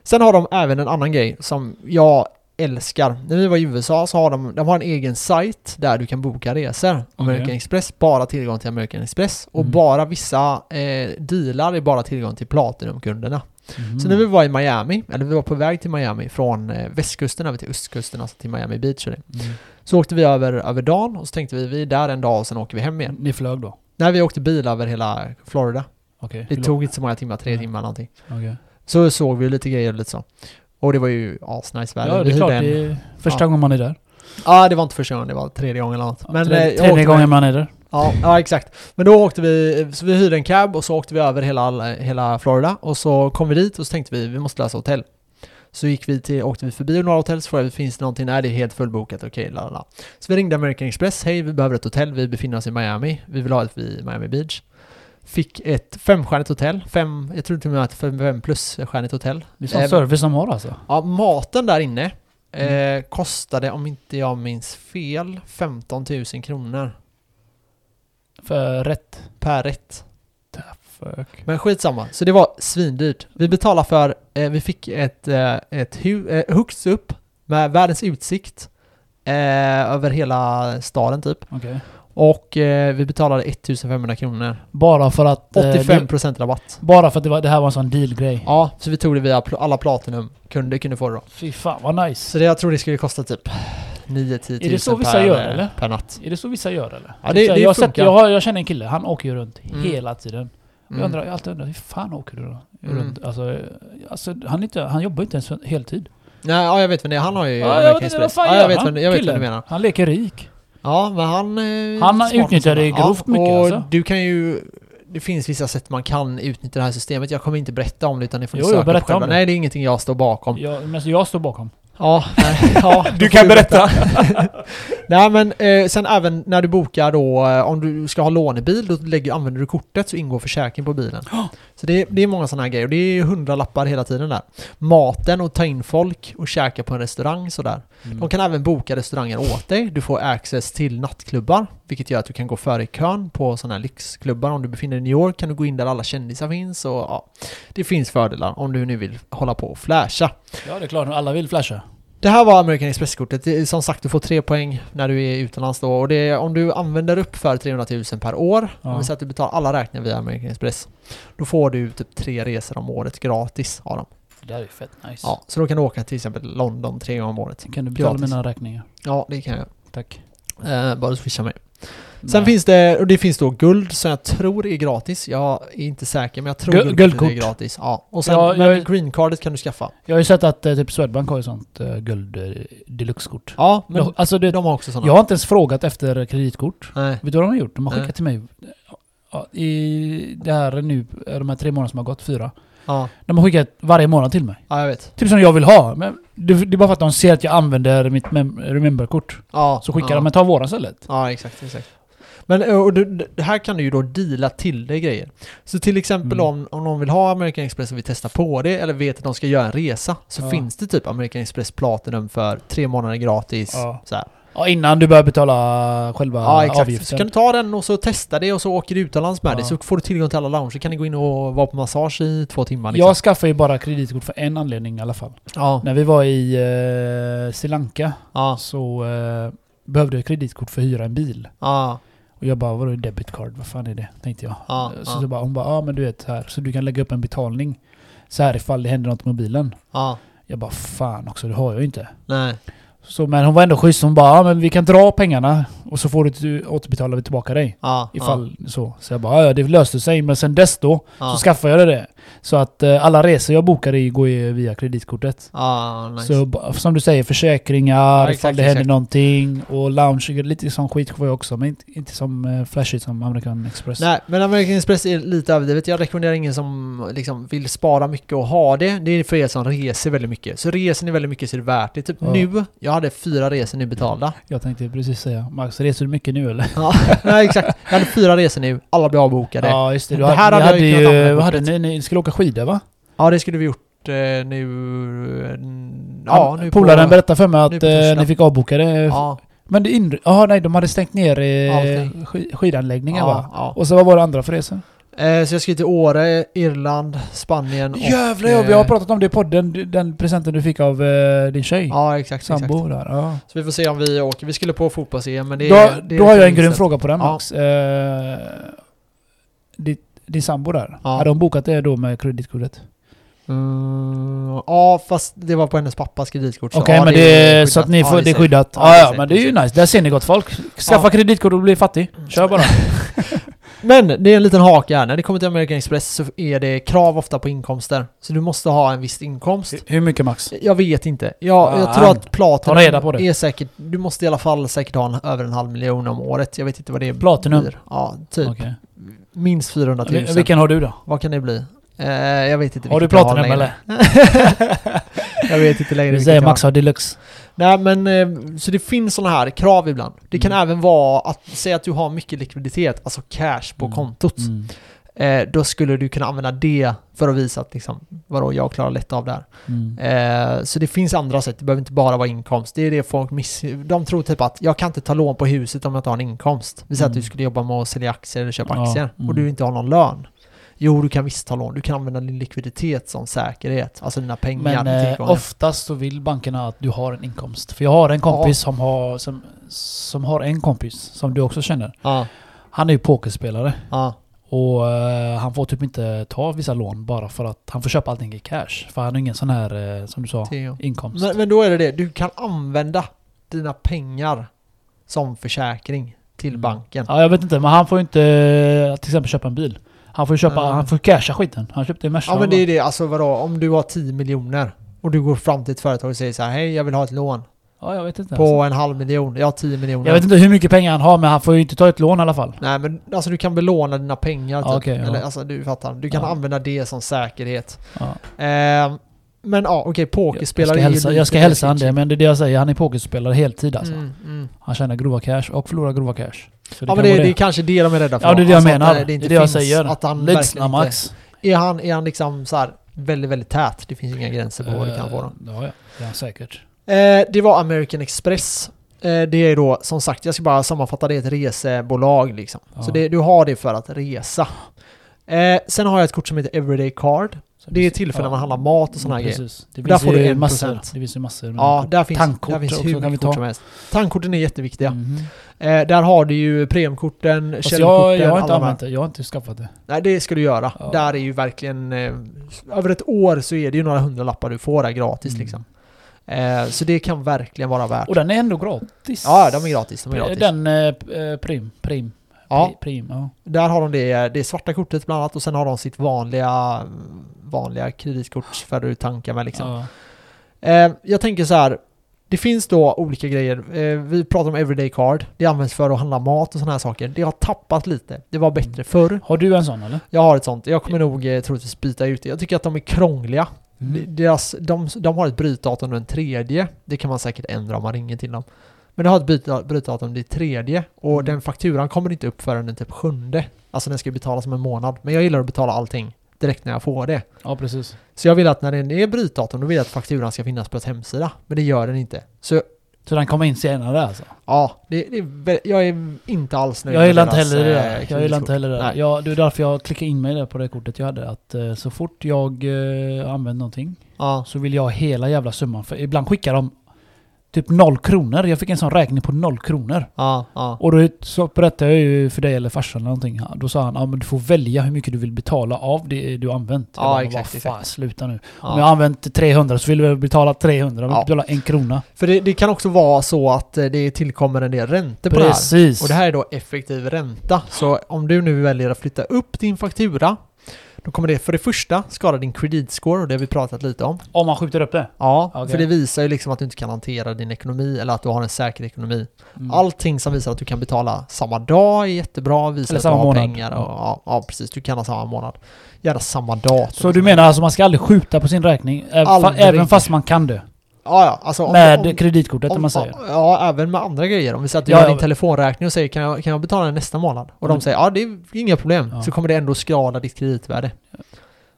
[SPEAKER 1] Sen har de även en annan grej som jag älskar. När vi var i USA så har de, de har en egen sajt där du kan boka resor. American
[SPEAKER 2] Okej.
[SPEAKER 1] Express, bara tillgång till American Express. Och
[SPEAKER 2] Mm.
[SPEAKER 1] bara vissa eh, dealar är bara tillgång till Platinumkunderna.
[SPEAKER 2] Mm.
[SPEAKER 1] Så när vi var i Miami, eller vi var på väg till Miami från eh, västkusten över till östkusten, alltså till Miami Beach och det.
[SPEAKER 2] Mm.
[SPEAKER 1] Så åkte vi över, över dagen och så tänkte vi vi är där en dag och sen åker vi hem igen.
[SPEAKER 2] Ni flög då?
[SPEAKER 1] Nej, vi åkte bil över hela Florida.
[SPEAKER 2] Okej.
[SPEAKER 1] Det
[SPEAKER 2] Hur
[SPEAKER 1] tog inte så många timmar, tre
[SPEAKER 2] Nej.
[SPEAKER 1] timmar någonting.
[SPEAKER 2] lång- okej.
[SPEAKER 1] Så såg vi lite grejer och lite så. Och det var ju asnice väder.
[SPEAKER 2] Ja,
[SPEAKER 1] Vi
[SPEAKER 2] det är
[SPEAKER 1] hyrde
[SPEAKER 2] klart.
[SPEAKER 1] en-
[SPEAKER 2] Det är första
[SPEAKER 1] Ja.
[SPEAKER 2] gången man är där.
[SPEAKER 1] Ja, det var inte första gången, det var tredje gången eller något. Men, eh, jag
[SPEAKER 2] Tredje,
[SPEAKER 1] åkte
[SPEAKER 2] tredje
[SPEAKER 1] med-
[SPEAKER 2] gången man är där.
[SPEAKER 1] Ja, ja, exakt. Men då åkte vi, så vi hyrde en cab och så åkte vi över hela, hela Florida och så kom vi dit och så tänkte vi vi måste lösa hotell. Så gick vi till, åkte vi förbi några hotell så frågade vi finns det någonting? Nej det är helt fullbokat, okej la la la. Så vi ringde American Express, hej vi behöver ett hotell, vi befinner oss i Miami, vi vill ha ett vid Miami Beach. Fick ett femstjärnigt hotell, fem, jag tror till och med att fem, fem plus stjärnigt hotell.
[SPEAKER 2] Det är sån
[SPEAKER 1] Eh,
[SPEAKER 2] service de har alltså.
[SPEAKER 1] Ja, maten där inne eh, kostade, om inte jag minns fel, 15 000 kronor
[SPEAKER 2] För rätt.
[SPEAKER 1] per rätt.
[SPEAKER 2] Fuck.
[SPEAKER 1] Men skitsamma, så det var svindyrt. Vi betalade för, eh, vi fick ett, eh, ett hu- eh, högst upp med världens utsikt eh, över hela staden typ.
[SPEAKER 2] Okej.
[SPEAKER 1] Och eh, vi betalade 1500 kronor.
[SPEAKER 2] Bara för att... eh,
[SPEAKER 1] 85%
[SPEAKER 2] det-
[SPEAKER 1] procent rabatt.
[SPEAKER 2] Bara för att det, var, det här var en sån dealgrej.
[SPEAKER 1] Ja, så vi tog det via pl- alla platinum kunde, kunde få det då.
[SPEAKER 2] Fy fan vad nice.
[SPEAKER 1] Så det, jag tror det skulle kosta typ 9-10
[SPEAKER 2] Är det så
[SPEAKER 1] 000
[SPEAKER 2] vissa
[SPEAKER 1] per,
[SPEAKER 2] gör,
[SPEAKER 1] eh,
[SPEAKER 2] eller?
[SPEAKER 1] per natt.
[SPEAKER 2] Är det så vissa gör eller?
[SPEAKER 1] Ja, det-
[SPEAKER 2] jag,
[SPEAKER 1] det
[SPEAKER 2] har sett,
[SPEAKER 1] funkar.
[SPEAKER 2] jag, har, jag känner en kille, han åker ju runt
[SPEAKER 1] Mm.
[SPEAKER 2] hela tiden. Och Jag,
[SPEAKER 1] Mm.
[SPEAKER 2] undrar, jag har alltid undrat, hur fan åker du då?
[SPEAKER 1] Mm.
[SPEAKER 2] Runt, alltså, eh, alltså, han, är inte, han jobbar ju inte ens heltid.
[SPEAKER 1] Nej, ja, jag vet vem det är. Han har ju
[SPEAKER 2] Ja, jag
[SPEAKER 1] American
[SPEAKER 2] vet inte, vad
[SPEAKER 1] Express.
[SPEAKER 2] fan
[SPEAKER 1] Ja,
[SPEAKER 2] gör
[SPEAKER 1] jag vet
[SPEAKER 2] han?
[SPEAKER 1] vem, jag vet vem du
[SPEAKER 2] Killen.
[SPEAKER 1] menar.
[SPEAKER 2] Han leker rik.
[SPEAKER 1] Ja, men han... eh,
[SPEAKER 2] Han
[SPEAKER 1] smart som
[SPEAKER 2] utnyttjar det
[SPEAKER 1] fan. Ja,
[SPEAKER 2] grovt mycket,
[SPEAKER 1] och
[SPEAKER 2] alltså.
[SPEAKER 1] du kan ju... Det finns vissa sätt man kan utnyttja det här systemet. Jag kommer inte berätta om det utan ni får ni
[SPEAKER 2] Jo,
[SPEAKER 1] söka
[SPEAKER 2] jo,
[SPEAKER 1] upp
[SPEAKER 2] berätta
[SPEAKER 1] själva.
[SPEAKER 2] om det.
[SPEAKER 1] Nej, det är ingenting jag står bakom.
[SPEAKER 2] Jag, men jag står bakom.
[SPEAKER 1] Ja, nej, ja då får Nej, men eh, sen även när du bokar då, eh, om du ska ha lånebil, då lägger, använder du kortet så ingår försäkring på bilen. Så det, det är många sådana här grejer. Och det är ju hundralappar hela tiden där. Maten och ta in folk och käka på en restaurang sådär. De kan även boka restauranger åt dig. Du får access till nattklubbar, vilket gör att du kan gå före i kön på sådana här lyxklubbar. Om du befinner dig i New York kan du gå in där alla kändisar finns och ja, det finns fördelar om du nu vill hålla på och flasha.
[SPEAKER 2] Ja, det är klart. Alla vill flasha.
[SPEAKER 1] Det här var American Express-kortet. Det är Som sagt, du får tre poäng när du är utomlands då. Och det är, om du använder upp för 300 000 per år, om
[SPEAKER 2] Ja.
[SPEAKER 1] vi säger att du betalar alla räkningar via American Express, då får du typ tre resor om året gratis av dem.
[SPEAKER 2] Det där är ju fett nice.
[SPEAKER 1] Ja, så då kan du åka till exempel London tre gånger om året.
[SPEAKER 2] Kan du betala
[SPEAKER 1] Gratis.
[SPEAKER 2] mina räkningar?
[SPEAKER 1] Ja, det kan jag.
[SPEAKER 2] Tack.
[SPEAKER 1] Eh, bara swisha mig. Sen
[SPEAKER 2] Nej.
[SPEAKER 1] finns det, och det finns då guld som jag tror är gratis. Jag är inte säker, men jag tror
[SPEAKER 2] Gu-
[SPEAKER 1] guld
[SPEAKER 2] guldkort.
[SPEAKER 1] är gratis. Ja, och sen,
[SPEAKER 2] Ja,
[SPEAKER 1] men
[SPEAKER 2] jag-
[SPEAKER 1] greencardet kan du skaffa.
[SPEAKER 2] Jag har ju sett att eh, typ Swedbank har ju sånt eh, guld eh, deluxe-kort.
[SPEAKER 1] Ja, men
[SPEAKER 2] De- alltså, det,
[SPEAKER 1] de har också sådana.
[SPEAKER 2] jag har inte ens frågat efter kreditkort.
[SPEAKER 1] Nej.
[SPEAKER 2] Vet du vad de har gjort? De har
[SPEAKER 1] Nej.
[SPEAKER 2] skickat till mig eh, ja, i det här nu, eh, de här tre månaderna som har gått, fyra.
[SPEAKER 1] Ja,
[SPEAKER 2] De har skickat varje månad till mig.
[SPEAKER 1] ja, jag vet.
[SPEAKER 2] Typ som jag vill ha. Men det, det är bara för att de ser att jag använder mitt mem- remember-kort.
[SPEAKER 1] Ja,
[SPEAKER 2] Så skickar
[SPEAKER 1] ja.
[SPEAKER 2] de, men ta våran istället.
[SPEAKER 1] Ja, exakt. exakt. Men eh, och du, det här kan du ju då deala till dig grejer. Så till exempel
[SPEAKER 2] Mm.
[SPEAKER 1] om, om någon vill ha American Express och vill testa på det eller vet att de ska göra en resa så
[SPEAKER 2] Ja.
[SPEAKER 1] finns det typ American Express Platinum för tre månader gratis.
[SPEAKER 2] Ja.
[SPEAKER 1] Så här.
[SPEAKER 2] Ja, innan du börjar betala själva
[SPEAKER 1] ja exakt. Så
[SPEAKER 2] avgiften.
[SPEAKER 1] kan du ta den och så testa det och så åker du utomlands med
[SPEAKER 2] Ja.
[SPEAKER 1] det så får du tillgång till alla lounge. Så kan du gå in och vara på massage i två timmar. Liksom.
[SPEAKER 2] Jag skaffade ju bara kreditkort för en anledning i alla fall.
[SPEAKER 1] Ja,
[SPEAKER 2] När vi var i eh, Sri Lanka
[SPEAKER 1] ja,
[SPEAKER 2] så eh, behövde jag kreditkort för att hyra en bil.
[SPEAKER 1] ja,
[SPEAKER 2] Och jag bara, vadå debit card? Vad fan är det? Tänkte jag.
[SPEAKER 1] Ja,
[SPEAKER 2] så,
[SPEAKER 1] ja.
[SPEAKER 2] så bara, hon bara, ja ah, men du vet här. Så du kan lägga upp en betalning. Så här ifall det händer något med bilen.
[SPEAKER 1] ja.
[SPEAKER 2] Jag bara, fan också, det har jag ju inte.
[SPEAKER 1] Nej.
[SPEAKER 2] Så, men hon var ändå schysst. Hon bara, ja ah, men vi kan dra pengarna. Och så får du, du återbetalar vi tillbaka dig.
[SPEAKER 1] Ja,
[SPEAKER 2] Ifall så. Så jag bara, "Ja, ja det löste sig. Men sen dess då,
[SPEAKER 1] ja, ja,
[SPEAKER 2] så skaffade jag det. Så att eh, alla resor jag bokar i går ju via kreditkortet.
[SPEAKER 1] ja, nice.
[SPEAKER 2] Så ba- som du säger, försäkringar,
[SPEAKER 1] Ja, exakt,
[SPEAKER 2] ifall det händer
[SPEAKER 1] exakt.
[SPEAKER 2] någonting. Och lounge, lite sån skit var jag också. Men inte, inte som eh, flashigt som American Express.
[SPEAKER 1] Nej, men American Express är lite överdrivet. Jag rekommenderar ingen som liksom vill spara mycket och ha det. Det är för er som reser väldigt mycket. Så reser ni väldigt mycket så är det värt det. Typ
[SPEAKER 2] Ja.
[SPEAKER 1] nu, jag hade fyra resor nu betalda.
[SPEAKER 2] Jag tänkte precis säga, Max reser du mycket nu eller?
[SPEAKER 1] Ja, nej, exakt. Jag hade fyra resor nu, alla blev avbokade. Ja,
[SPEAKER 2] Ja just det. Du
[SPEAKER 1] Det
[SPEAKER 2] hade,
[SPEAKER 1] här
[SPEAKER 2] ni
[SPEAKER 1] hade jag
[SPEAKER 2] hade
[SPEAKER 1] ju kunnat
[SPEAKER 2] ju,
[SPEAKER 1] använda
[SPEAKER 2] vad hade ni, ni skulle åka skidor va?
[SPEAKER 1] det skulle vi gjort eh, nu... eh, n-
[SPEAKER 2] Ja,
[SPEAKER 1] Ja, nu på-
[SPEAKER 2] Polaren berättade för mig
[SPEAKER 1] nu
[SPEAKER 2] att
[SPEAKER 1] på torsdag.
[SPEAKER 2] eh, ni fick avboka det.
[SPEAKER 1] Ja,
[SPEAKER 2] Men det inre... Jaha, nej, de hade stängt ner eh,
[SPEAKER 1] Allting.
[SPEAKER 2] sk- skidanläggningen va?
[SPEAKER 1] ja, ja.
[SPEAKER 2] Och så vad var det andra för resor?
[SPEAKER 1] Eh, så jag ska till Åre, Irland, Spanien och...
[SPEAKER 2] Jävlar ja, vi har
[SPEAKER 1] eh,
[SPEAKER 2] pratat om det i podden. d- Den presenten du fick av eh, din tjej.
[SPEAKER 1] Ja, exakt. exakt.
[SPEAKER 2] Sambo där. Ja.
[SPEAKER 1] Så vi får se om vi åker. Vi skulle på fotbolls-EM men det
[SPEAKER 2] Då,
[SPEAKER 1] det
[SPEAKER 2] då har jag en
[SPEAKER 1] inställt.
[SPEAKER 2] grym fråga på den
[SPEAKER 1] Ja.
[SPEAKER 2] Max. Eh, ditt, din sambo där.
[SPEAKER 1] Ja.
[SPEAKER 2] Hade hon bokat det då med kreditkortet?
[SPEAKER 1] Mm, ja, fast det var på hennes pappas kreditkort. så
[SPEAKER 2] Okej,
[SPEAKER 1] ja,
[SPEAKER 2] men det är, så
[SPEAKER 1] skyddat.
[SPEAKER 2] att ni
[SPEAKER 1] Ja,
[SPEAKER 2] får, det är
[SPEAKER 1] safe.
[SPEAKER 2] skyddat.
[SPEAKER 1] Ja,
[SPEAKER 2] Ja,
[SPEAKER 1] det är
[SPEAKER 2] ja,
[SPEAKER 1] safe,
[SPEAKER 2] men det är ju
[SPEAKER 1] det
[SPEAKER 2] nice. Där ser ni gott folk. Skaffa
[SPEAKER 1] Ja.
[SPEAKER 2] kreditkort och bli fattig. Kör bara.
[SPEAKER 1] Men det är en liten hake här. När det kommer till American Express så är det krav ofta på inkomster. Så du måste ha en viss inkomst.
[SPEAKER 2] Hur mycket Max?
[SPEAKER 1] Jag vet inte. Jag, jag
[SPEAKER 2] Fan.
[SPEAKER 1] tror att Platinum
[SPEAKER 2] Ah, Ta reda på det.
[SPEAKER 1] är säkert... Du måste i alla fall säkert ha en, över en halv miljon om året. Jag vet inte vad det
[SPEAKER 2] Platinum?
[SPEAKER 1] blir. Ja, typ.
[SPEAKER 2] Okej.
[SPEAKER 1] Minst 400 000.
[SPEAKER 2] Vilken har du då?
[SPEAKER 1] Vad kan det bli? Eh, jag vet inte.
[SPEAKER 2] Har du
[SPEAKER 1] vilket jag
[SPEAKER 2] platinum
[SPEAKER 1] längre.
[SPEAKER 2] eller?
[SPEAKER 1] jag vet inte längre.
[SPEAKER 2] Du
[SPEAKER 1] vilket
[SPEAKER 2] säger
[SPEAKER 1] jag har.
[SPEAKER 2] Max har deluxe.
[SPEAKER 1] Nej men, eh, så det finns sådana här krav ibland. Det kan
[SPEAKER 2] Mm.
[SPEAKER 1] även vara att, säga att du har mycket likviditet, alltså cash på
[SPEAKER 2] Mm.
[SPEAKER 1] kontot.
[SPEAKER 2] Mm.
[SPEAKER 1] Eh, då skulle du kunna använda det för att visa att liksom, vadå, jag klarar lätt av det här.
[SPEAKER 2] Mm.
[SPEAKER 1] Eh, så det finns andra sätt, det behöver inte bara vara inkomst. Det är det folk miss... De tror typ att jag kan inte ta lån på huset om jag inte har en inkomst. Vi säger att
[SPEAKER 2] Mm.
[SPEAKER 1] du skulle jobba med att sälja aktier eller köpa
[SPEAKER 2] Ja,
[SPEAKER 1] aktier
[SPEAKER 2] mm.
[SPEAKER 1] och du inte har någon lön. Jo, du kan visst ta lån. Du kan använda din likviditet som säkerhet, alltså dina pengar.
[SPEAKER 2] Men eh,
[SPEAKER 1] tillgångar.
[SPEAKER 2] oftast så vill bankerna att du har en inkomst. För jag har en kompis som, har, som, som har en kompis som du också känner.
[SPEAKER 1] ja,
[SPEAKER 2] Han är ju pokerspelare.
[SPEAKER 1] ja,
[SPEAKER 2] Och eh, han får typ inte ta vissa lån bara för att han får köpa allting i cash. För han har ingen sån här, eh, som du sa,
[SPEAKER 1] Theo.
[SPEAKER 2] inkomst.
[SPEAKER 1] Men, men då är det det, du kan använda dina pengar som försäkring till
[SPEAKER 2] Mm.
[SPEAKER 1] banken.
[SPEAKER 2] Ja, jag vet inte, men han får ju inte eh, till exempel köpa en bil. Han får ju köpa,
[SPEAKER 1] Nej.
[SPEAKER 2] han får casha skiten. Han köpte en Merca.
[SPEAKER 1] Ja men det är det, alltså vadå, om du har 10 miljoner och du går fram till ett företag och säger så här, hej jag vill ha ett lån
[SPEAKER 2] ja, jag vet inte.
[SPEAKER 1] på
[SPEAKER 2] alltså.
[SPEAKER 1] en halv miljon, jag har 10 miljoner.
[SPEAKER 2] Jag vet inte hur mycket pengar han har, men han får ju inte ta ett lån i alla fall.
[SPEAKER 1] Nej men alltså du kan belåna dina pengar
[SPEAKER 2] Ja,
[SPEAKER 1] typ.
[SPEAKER 2] okej, ja.
[SPEAKER 1] Eller alltså du fattar, du kan
[SPEAKER 2] Ja.
[SPEAKER 1] använda det som säkerhet.
[SPEAKER 2] Ja.
[SPEAKER 1] Ehm, men ja, okej pokerspelare
[SPEAKER 2] jag ska hälsa,
[SPEAKER 1] är ju
[SPEAKER 2] jag ska
[SPEAKER 1] lite-
[SPEAKER 2] hälsa han det, men det är det jag säger. Han är pokerspelare heltid alltså.
[SPEAKER 1] Mm, mm.
[SPEAKER 2] Han tjänar grova cash och förlorar grova cash. Så
[SPEAKER 1] Ja
[SPEAKER 2] kan
[SPEAKER 1] men det,
[SPEAKER 2] vara
[SPEAKER 1] det är kanske det de är rädda för.
[SPEAKER 2] Ja det är det jag
[SPEAKER 1] Alltså, att
[SPEAKER 2] menar. Det
[SPEAKER 1] inte
[SPEAKER 2] är det jag
[SPEAKER 1] finns,
[SPEAKER 2] säger.
[SPEAKER 1] Att han
[SPEAKER 2] Ledsna
[SPEAKER 1] verkligen inte
[SPEAKER 2] Max.
[SPEAKER 1] Är han, är han liksom så här väldigt, väldigt tät? Det finns inga gränser på vad det kan
[SPEAKER 2] Eh,
[SPEAKER 1] vara.
[SPEAKER 2] Ja, ja. Det är han säkert.
[SPEAKER 1] Eh, det var American Express. Eh, det är då, som sagt, jag ska bara sammanfatta det, ett resebolag liksom.
[SPEAKER 2] Ja.
[SPEAKER 1] Så det, du har det för att resa. Eh, sen har jag ett kort som heter Everyday Card. Det är till för när man handlar mat och såna här
[SPEAKER 2] Precis. Det
[SPEAKER 1] Där
[SPEAKER 2] finns
[SPEAKER 1] får du
[SPEAKER 2] ju
[SPEAKER 1] 1%.
[SPEAKER 2] massor. Det finns ju massor. med
[SPEAKER 1] Ja,
[SPEAKER 2] kort.
[SPEAKER 1] där finns,
[SPEAKER 2] Tankkort
[SPEAKER 1] där finns
[SPEAKER 2] också
[SPEAKER 1] hur
[SPEAKER 2] kan vi
[SPEAKER 1] mycket
[SPEAKER 2] ta.
[SPEAKER 1] kort som helst. Tandkorten är jätteviktiga.
[SPEAKER 2] Mhm.
[SPEAKER 1] Eh, där har du ju premiumkorten,
[SPEAKER 2] Fast jag,
[SPEAKER 1] källkorten,
[SPEAKER 2] jag har inte
[SPEAKER 1] alla de här.
[SPEAKER 2] använt det. Jag har inte skaffat det.
[SPEAKER 1] Nej, det ska du göra.
[SPEAKER 2] Ja.
[SPEAKER 1] Där är ju verkligen... Eh, över ett år så är det ju några hundralappar du får där gratis
[SPEAKER 2] Mm.
[SPEAKER 1] liksom. Eh, så det kan verkligen vara värt.
[SPEAKER 2] Och den är ändå gratis.
[SPEAKER 1] Ja, de är gratis. De är gratis.
[SPEAKER 2] Den eh, p- eh, prim. Prim.
[SPEAKER 1] Ja,
[SPEAKER 2] Pri- Prim, ja.
[SPEAKER 1] där har de det, det svarta kortet bland annat och sen har de sitt vanliga, vanliga kreditkort för att du tankar med liksom.
[SPEAKER 2] ja.
[SPEAKER 1] Eh, jag tänker så här. Det finns då olika grejer. Eh, vi pratar om everyday card. Det används för att handla mat och sådana här saker. Det har tappat lite. Det var bättre förr.
[SPEAKER 2] Har du en sån eller?
[SPEAKER 1] Jag har ett sånt. Jag kommer nog eh, troligtvis byta ut det. Jag tycker att de är krångliga.
[SPEAKER 2] Mm.
[SPEAKER 1] Deras, de, de har ett brytdatum den tredje. Det kan man säkert ändra om man ringer till dem. Men de har ett bryta- brytdatum den tredje och
[SPEAKER 2] Mm.
[SPEAKER 1] den fakturan kommer inte upp förrän den typ sjunde. Alltså den ska ju betalas om en månad. Men jag gillar att betala allting direkt när jag får det.
[SPEAKER 2] Ja, precis.
[SPEAKER 1] Så jag vill att när den är brytdatum, då vill jag att fakturan ska finnas på ett hemsida. Men det gör den inte. Så
[SPEAKER 2] Så den kommer in senare alltså?
[SPEAKER 1] ja, det, det, är vä- jag är inte alls nöjd
[SPEAKER 2] Jag gillar
[SPEAKER 1] med
[SPEAKER 2] inte heller det
[SPEAKER 1] deras,
[SPEAKER 2] där.
[SPEAKER 1] eh,
[SPEAKER 2] Jag gillar inte
[SPEAKER 1] kreditkort.
[SPEAKER 2] heller det där.
[SPEAKER 1] Nej.
[SPEAKER 2] Jag, det är därför jag klickade in mig där på det kortet jag hade. Att eh, så fort jag eh, använder någonting
[SPEAKER 1] Ja,
[SPEAKER 2] så vill jag ha hela jävla summan. För ibland skickar de typ noll kronor. Jag fick en sån räkning på noll kronor.
[SPEAKER 1] ja, ja.
[SPEAKER 2] Och då så berättade jag ju för dig eller farsan eller någonting. Ja, Då sa han ja, men du får välja hur mycket du vill betala av det du har använt. Jag
[SPEAKER 1] Ja,
[SPEAKER 2] bara,
[SPEAKER 1] exakt,
[SPEAKER 2] Vad fan, sluta nu. Om jag
[SPEAKER 1] ja.
[SPEAKER 2] har använt 300 så vill jag betala 300. Jag vill
[SPEAKER 1] Ja.
[SPEAKER 2] betala en krona.
[SPEAKER 1] För det, det kan också vara så att eh, det tillkommer en del räntor på det här.
[SPEAKER 2] Precis.
[SPEAKER 1] Och det här är då effektiv ränta. Så om du nu väljer att flytta upp din faktura, då kommer det för det första skada din kreditscore och det har vi pratat lite om.
[SPEAKER 2] Om man skjuter upp det.
[SPEAKER 1] Ja,
[SPEAKER 2] Okej.
[SPEAKER 1] för det visar ju liksom att du inte kan hantera din ekonomi eller att du har en säker ekonomi.
[SPEAKER 2] Mm.
[SPEAKER 1] Allting som visar att du kan betala samma dag är jättebra, visar
[SPEAKER 2] Eller
[SPEAKER 1] att du
[SPEAKER 2] samma
[SPEAKER 1] har
[SPEAKER 2] månad.
[SPEAKER 1] pengar. Och, ja, ja, precis. Du kan ha samma månad. Gärna samma datum.
[SPEAKER 2] Så du menar alltså man ska aldrig skjuta på sin räkning? Ä- fa-
[SPEAKER 1] Aldrig.
[SPEAKER 2] Även fast man kan det?
[SPEAKER 1] Ja, ja. Alltså, om,
[SPEAKER 2] Med
[SPEAKER 1] om,
[SPEAKER 2] kreditkortet om
[SPEAKER 1] om,
[SPEAKER 2] man säger?
[SPEAKER 1] ja, även med andra grejer. Om vi säger att du
[SPEAKER 2] Ja,
[SPEAKER 1] har
[SPEAKER 2] ja.
[SPEAKER 1] din telefonräkning och säger kan jag, kan jag betala den nästa månad? Och
[SPEAKER 2] Mm.
[SPEAKER 1] de säger ja, det är inga problem.
[SPEAKER 2] Ja.
[SPEAKER 1] Så kommer det ändå skada ditt kreditvärde.